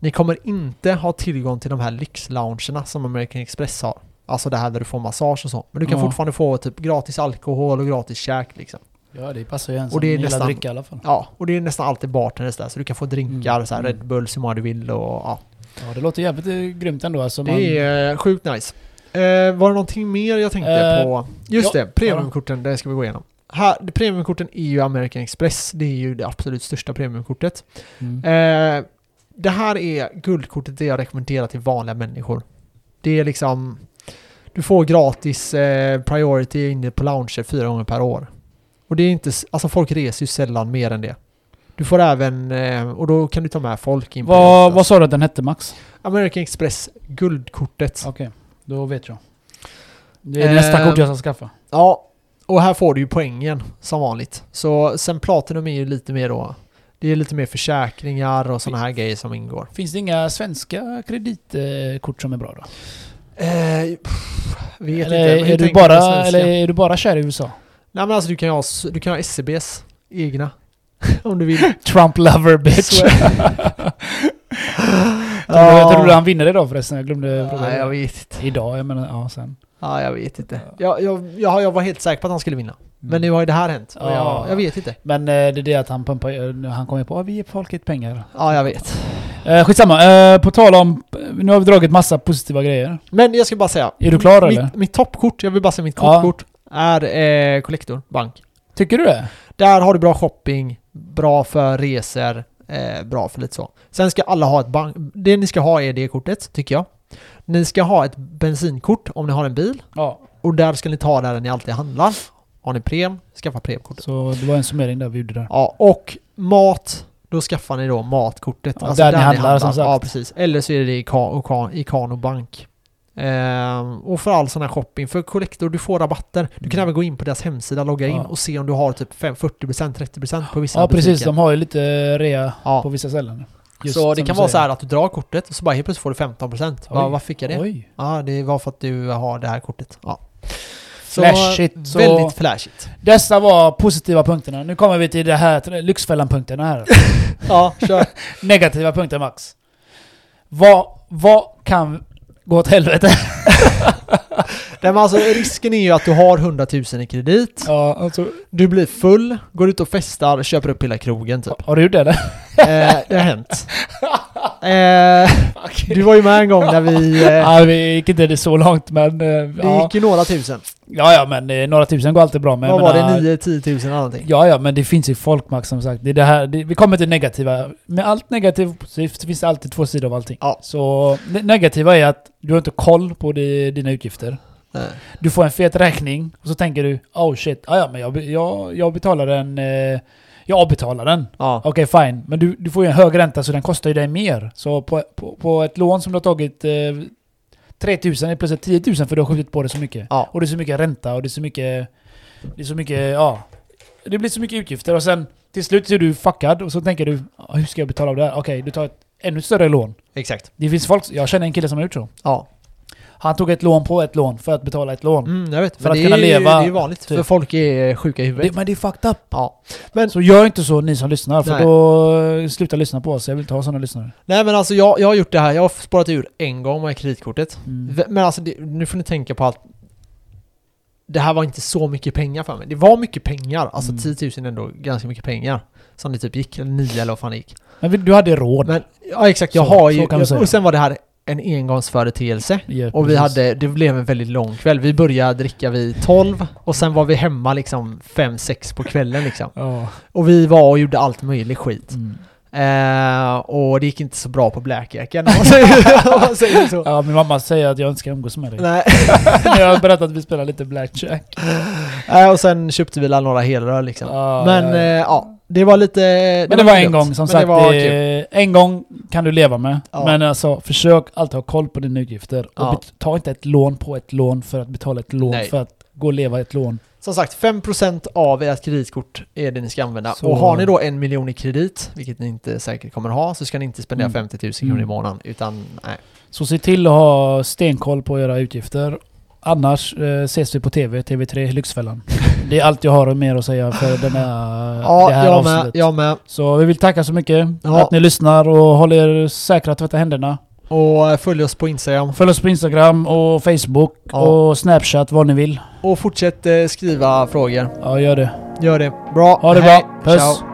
[SPEAKER 1] Ni kommer inte ha tillgång till de här lyxloungerna som American Express har. Alltså det här där du får massage och så. Men du kan
[SPEAKER 2] Ja.
[SPEAKER 1] fortfarande få typ gratis alkohol och gratis käk liksom.
[SPEAKER 2] Ja, det passar ju en
[SPEAKER 1] Och
[SPEAKER 2] som
[SPEAKER 1] det är
[SPEAKER 2] gillar
[SPEAKER 1] nästan-
[SPEAKER 2] dricka i alla fall.
[SPEAKER 1] Ja, och det är nästan alltid bartenders där så du kan få drinkar,
[SPEAKER 2] Mm.
[SPEAKER 1] så här Red Bulls hur många du vill och ja.
[SPEAKER 2] Ja, det låter jävligt eh, grymt ändå. Alltså, man,
[SPEAKER 1] Det är eh, sjukt nice. Eh, var det någonting mer jag tänkte
[SPEAKER 2] Eh,
[SPEAKER 1] på? Just
[SPEAKER 2] ja,
[SPEAKER 1] det, premiumkorten, det ska vi gå igenom. Här, premiumkorten är ju American Express. Det är ju det absolut största premiumkortet.
[SPEAKER 2] mm.
[SPEAKER 1] Eh, det här är guldkortet det jag rekommenderar till vanliga människor. Det är liksom... Du får gratis eh, priority inne på lounger fyra gånger per år. Och det är inte... s- Alltså folk reser ju sällan mer än det. Du får även... Eh, och då kan du ta med folk in på
[SPEAKER 2] vad,
[SPEAKER 1] det.
[SPEAKER 2] vad sa du att den hette Max?
[SPEAKER 1] American Express guldkortet.
[SPEAKER 2] Okej, då vet jag. Det är
[SPEAKER 1] Eh,
[SPEAKER 2] nästa kort jag ska skaffa.
[SPEAKER 1] Ja, och här får du ju poängen som vanligt. Så sen Platinum är ju lite mer då... Det är lite mer försäkringar och sådana här grejer som ingår.
[SPEAKER 2] Finns det inga svenska kreditkort som är bra då?
[SPEAKER 1] Eh, pff, vet
[SPEAKER 2] Eller,
[SPEAKER 1] inte. men hur
[SPEAKER 2] är du
[SPEAKER 1] tänker på
[SPEAKER 2] bara,
[SPEAKER 1] svenska?
[SPEAKER 2] eller är du bara kär i USA?
[SPEAKER 1] Nej men alltså du kan ju ha, s- du kan ha SCBs egna. Om du vill.
[SPEAKER 2] Trump lover bitch.
[SPEAKER 1] Swear.
[SPEAKER 2] Jag trodde han vinner idag förresten, jag glömde fråga.
[SPEAKER 1] Nej jag
[SPEAKER 2] det.
[SPEAKER 1] vet inte.
[SPEAKER 2] Idag, jag menar, ja sen.
[SPEAKER 1] Ja, jag vet inte. Mm. Jag, jag, jag, jag var helt säker på att han skulle vinna. Men nu har ju det här hänt. Och
[SPEAKER 2] Ja.
[SPEAKER 1] jag, jag vet inte.
[SPEAKER 2] Mm. Men eh, det är det att han pumpar, eh, han kommer på att vi ger folket pengar.
[SPEAKER 1] Ja, jag vet.
[SPEAKER 2] Eh, skitsamma, eh, på tal om, nu har vi dragit massa positiva grejer.
[SPEAKER 1] Men jag ska bara säga.
[SPEAKER 2] Är du klar eller?
[SPEAKER 1] Mitt, mitt toppkort, jag vill bara säga mitt
[SPEAKER 2] Ja.
[SPEAKER 1] kortkort, är eh, Collector Bank.
[SPEAKER 2] Tycker du det?
[SPEAKER 1] Där har du bra shopping, bra för resor, eh, bra för lite så. Sen ska alla ha ett bank... Det ni ska ha är det kortet, tycker jag. Ni ska ha ett bensinkort om ni har en bil.
[SPEAKER 2] Ja.
[SPEAKER 1] Och där ska ni ta där ni alltid handlar. Har ni Prem, skaffa Premkortet.
[SPEAKER 2] Så det var en summering där vi gjorde där.
[SPEAKER 1] Ja, och mat. Då skaffar ni då matkortet. Alltså
[SPEAKER 2] Ja, där ni handlar, som sagt.
[SPEAKER 1] Ja, precis. Eller så är det i, Ka- och Ka- i Kano Bank. Ehm, och för all sån här shopping, för Collector, du får rabatter. Du kan
[SPEAKER 2] Mm.
[SPEAKER 1] även gå in på deras hemsida, logga in
[SPEAKER 2] Ja.
[SPEAKER 1] och se om du har typ fem- 40%, 30% på vissa
[SPEAKER 2] Ja precis,
[SPEAKER 1] butiker.
[SPEAKER 2] de har ju lite rea
[SPEAKER 1] Ja.
[SPEAKER 2] på vissa ställen. Just
[SPEAKER 1] så det
[SPEAKER 2] som
[SPEAKER 1] kan
[SPEAKER 2] du
[SPEAKER 1] vara så
[SPEAKER 2] säger.
[SPEAKER 1] här att du drar kortet och så bara helt plötsligt får du 15%. Bara,
[SPEAKER 2] Oj.
[SPEAKER 1] varför fick jag det?
[SPEAKER 2] Oj.
[SPEAKER 1] Ja, det var för att du har det här kortet. Ja. Så,
[SPEAKER 2] Flashigt, så-
[SPEAKER 1] Väldigt flashigt.
[SPEAKER 2] Dessa var positiva punkterna. Nu kommer vi till det här till Lyxfällan-punkterna här.
[SPEAKER 1] Ja, kör.
[SPEAKER 2] Negativa punkter Max. Vad vad kan gå åt helvete?
[SPEAKER 1] Nej, men alltså, risken är ju att du har 100 000 i kredit.
[SPEAKER 2] Ja, alltså,
[SPEAKER 1] Du blir full, går ut och festar, köper upp hela krogen typ.
[SPEAKER 2] har du gjort det eller?
[SPEAKER 1] eh, det har hänt. Eh, du var ju med en gång när vi... Eh,
[SPEAKER 2] Ja, vi gick inte det så långt men... eh,
[SPEAKER 1] det
[SPEAKER 2] Ja,
[SPEAKER 1] gick ju några tusen.
[SPEAKER 2] ja, ja men eh, några tusen går alltid bra. Men jag
[SPEAKER 1] Vad var
[SPEAKER 2] menar-
[SPEAKER 1] det? 9-10 tusen eller någonting?
[SPEAKER 2] Ja, ja, men det finns ju folkmakt som sagt. Det är det här, det, vi kommer till negativa. Med allt negativt och positivt finns det alltid två sidor av allting.
[SPEAKER 1] Ja.
[SPEAKER 2] Så det negativa är att du har inte koll på di- dina utgifter.
[SPEAKER 1] Nej.
[SPEAKER 2] Du får en fet räkning och så tänker du oh shit, ja, ja men jag, be- jag, jag betalar den, eh, jag avbetalar den.
[SPEAKER 1] Ja.
[SPEAKER 2] Okej fine, men du, du får ju en hög ränta så den kostar ju dig mer. Så på, på, på ett lån som du har tagit eh, 3000 är plötsligt 10 000 för du har skjutit på det så mycket.
[SPEAKER 1] Ja.
[SPEAKER 2] Och det är så mycket ränta och det är så mycket... Det är så mycket, ja. Det blir så mycket utgifter och sen till slut så är du fuckad och så tänker du "Ah, hur ska jag betala av det här? Okej, du tar ett ännu större lån.
[SPEAKER 1] Exakt.
[SPEAKER 2] Det finns folk, jag känner en kille som har gjort så.
[SPEAKER 1] Ja.
[SPEAKER 2] Han tog ett lån på ett lån för att betala ett lån.
[SPEAKER 1] Mm, jag vet.
[SPEAKER 2] För
[SPEAKER 1] Men
[SPEAKER 2] att
[SPEAKER 1] det
[SPEAKER 2] kunna
[SPEAKER 1] är ju-
[SPEAKER 2] leva,
[SPEAKER 1] Det är ju vanligt.
[SPEAKER 2] typ.
[SPEAKER 1] För folk är sjuka i huvudet.
[SPEAKER 2] Det, men det är fucked up.
[SPEAKER 1] Ja.
[SPEAKER 2] Så gör inte så ni som lyssnar för
[SPEAKER 1] Nej.
[SPEAKER 2] då eh, sluta lyssna på oss. Jag vill inte ha sådana lyssnare.
[SPEAKER 1] Nej men alltså jag, jag har gjort det här. Jag har sparat ur en gång med kreditkortet.
[SPEAKER 2] Mm.
[SPEAKER 1] V- Men alltså det, nu får ni tänka på att det här var inte så mycket pengar för mig. Det var mycket pengar. Alltså
[SPEAKER 2] Mm.
[SPEAKER 1] 10 000 är ändå ganska mycket pengar. Som det typ gick. Eller 9 eller vad fan det gick.
[SPEAKER 2] Men vi- du hade råd.
[SPEAKER 1] Men ja exakt, jag
[SPEAKER 2] Så-
[SPEAKER 1] har
[SPEAKER 2] så
[SPEAKER 1] ju...
[SPEAKER 2] kan man säga.
[SPEAKER 1] och sen var det här en engångsföreteelse.
[SPEAKER 2] Ja,
[SPEAKER 1] Och vi
[SPEAKER 2] precis.
[SPEAKER 1] hade, det blev en väldigt lång kväll. Vi började dricka vid 12 och sen var vi hemma liksom 5-6 på kvällen liksom.
[SPEAKER 2] Ja.
[SPEAKER 1] Och vi var och gjorde allt möjligt skit.
[SPEAKER 2] Mm.
[SPEAKER 1] Eh, och det gick inte så bra på Blackjacken om man säger, om man säger så.
[SPEAKER 2] ja, min mamma säger att jag inte ska umgås med dig.
[SPEAKER 1] Nej.
[SPEAKER 2] När jag har berättat att vi spelar lite blackjack.
[SPEAKER 1] Nej, Eh, och sen köpte vi väl några helrör liksom.
[SPEAKER 2] Ja,
[SPEAKER 1] men
[SPEAKER 2] ja,
[SPEAKER 1] ja,
[SPEAKER 2] ja.
[SPEAKER 1] ja, det var lite...
[SPEAKER 2] Men det var en
[SPEAKER 1] gött.
[SPEAKER 2] gång, som
[SPEAKER 1] Men
[SPEAKER 2] sagt.
[SPEAKER 1] Det var
[SPEAKER 2] eh,
[SPEAKER 1] kul.
[SPEAKER 2] en gång kan du leva med.
[SPEAKER 1] Ja.
[SPEAKER 2] Men alltså, försök alltid ha koll på dina utgifter. Och
[SPEAKER 1] Ja.
[SPEAKER 2] bet- ta inte ett lån på ett lån för att betala ett lån
[SPEAKER 1] Nej.
[SPEAKER 2] för att gå och leva ett lån.
[SPEAKER 1] Som sagt, 5% av ert kreditkort är det ni ska använda.
[SPEAKER 2] Så-
[SPEAKER 1] Och har ni då en miljon i kredit, vilket ni inte säkert kommer ha, så ska ni inte spendera
[SPEAKER 2] Mm.
[SPEAKER 1] 50 000 kronor i
[SPEAKER 2] Mm.
[SPEAKER 1] månaden. Utan nej.
[SPEAKER 2] Så se till att ha stenkoll på era utgifter. Annars eh, ses vi på TV, TV3 Lyxfällan. det är allt jag har mer att säga för den här,
[SPEAKER 1] Ja,
[SPEAKER 2] det här
[SPEAKER 1] jag med,
[SPEAKER 2] avsnittet.
[SPEAKER 1] jag med.
[SPEAKER 2] Så vi vill tacka så mycket
[SPEAKER 1] Ja.
[SPEAKER 2] att ni lyssnar och håller er säkra att tvätta händerna.
[SPEAKER 1] Och eh, följ oss på Instagram.
[SPEAKER 2] Följ oss på Instagram och Facebook
[SPEAKER 1] Ja.
[SPEAKER 2] och Snapchat, vad ni vill.
[SPEAKER 1] Och fortsätt eh, skriva frågor.
[SPEAKER 2] Ja, gör det.
[SPEAKER 1] Gör det. Bra.
[SPEAKER 2] Ha det
[SPEAKER 1] Hej.
[SPEAKER 2] bra. Puss.
[SPEAKER 1] Ciao.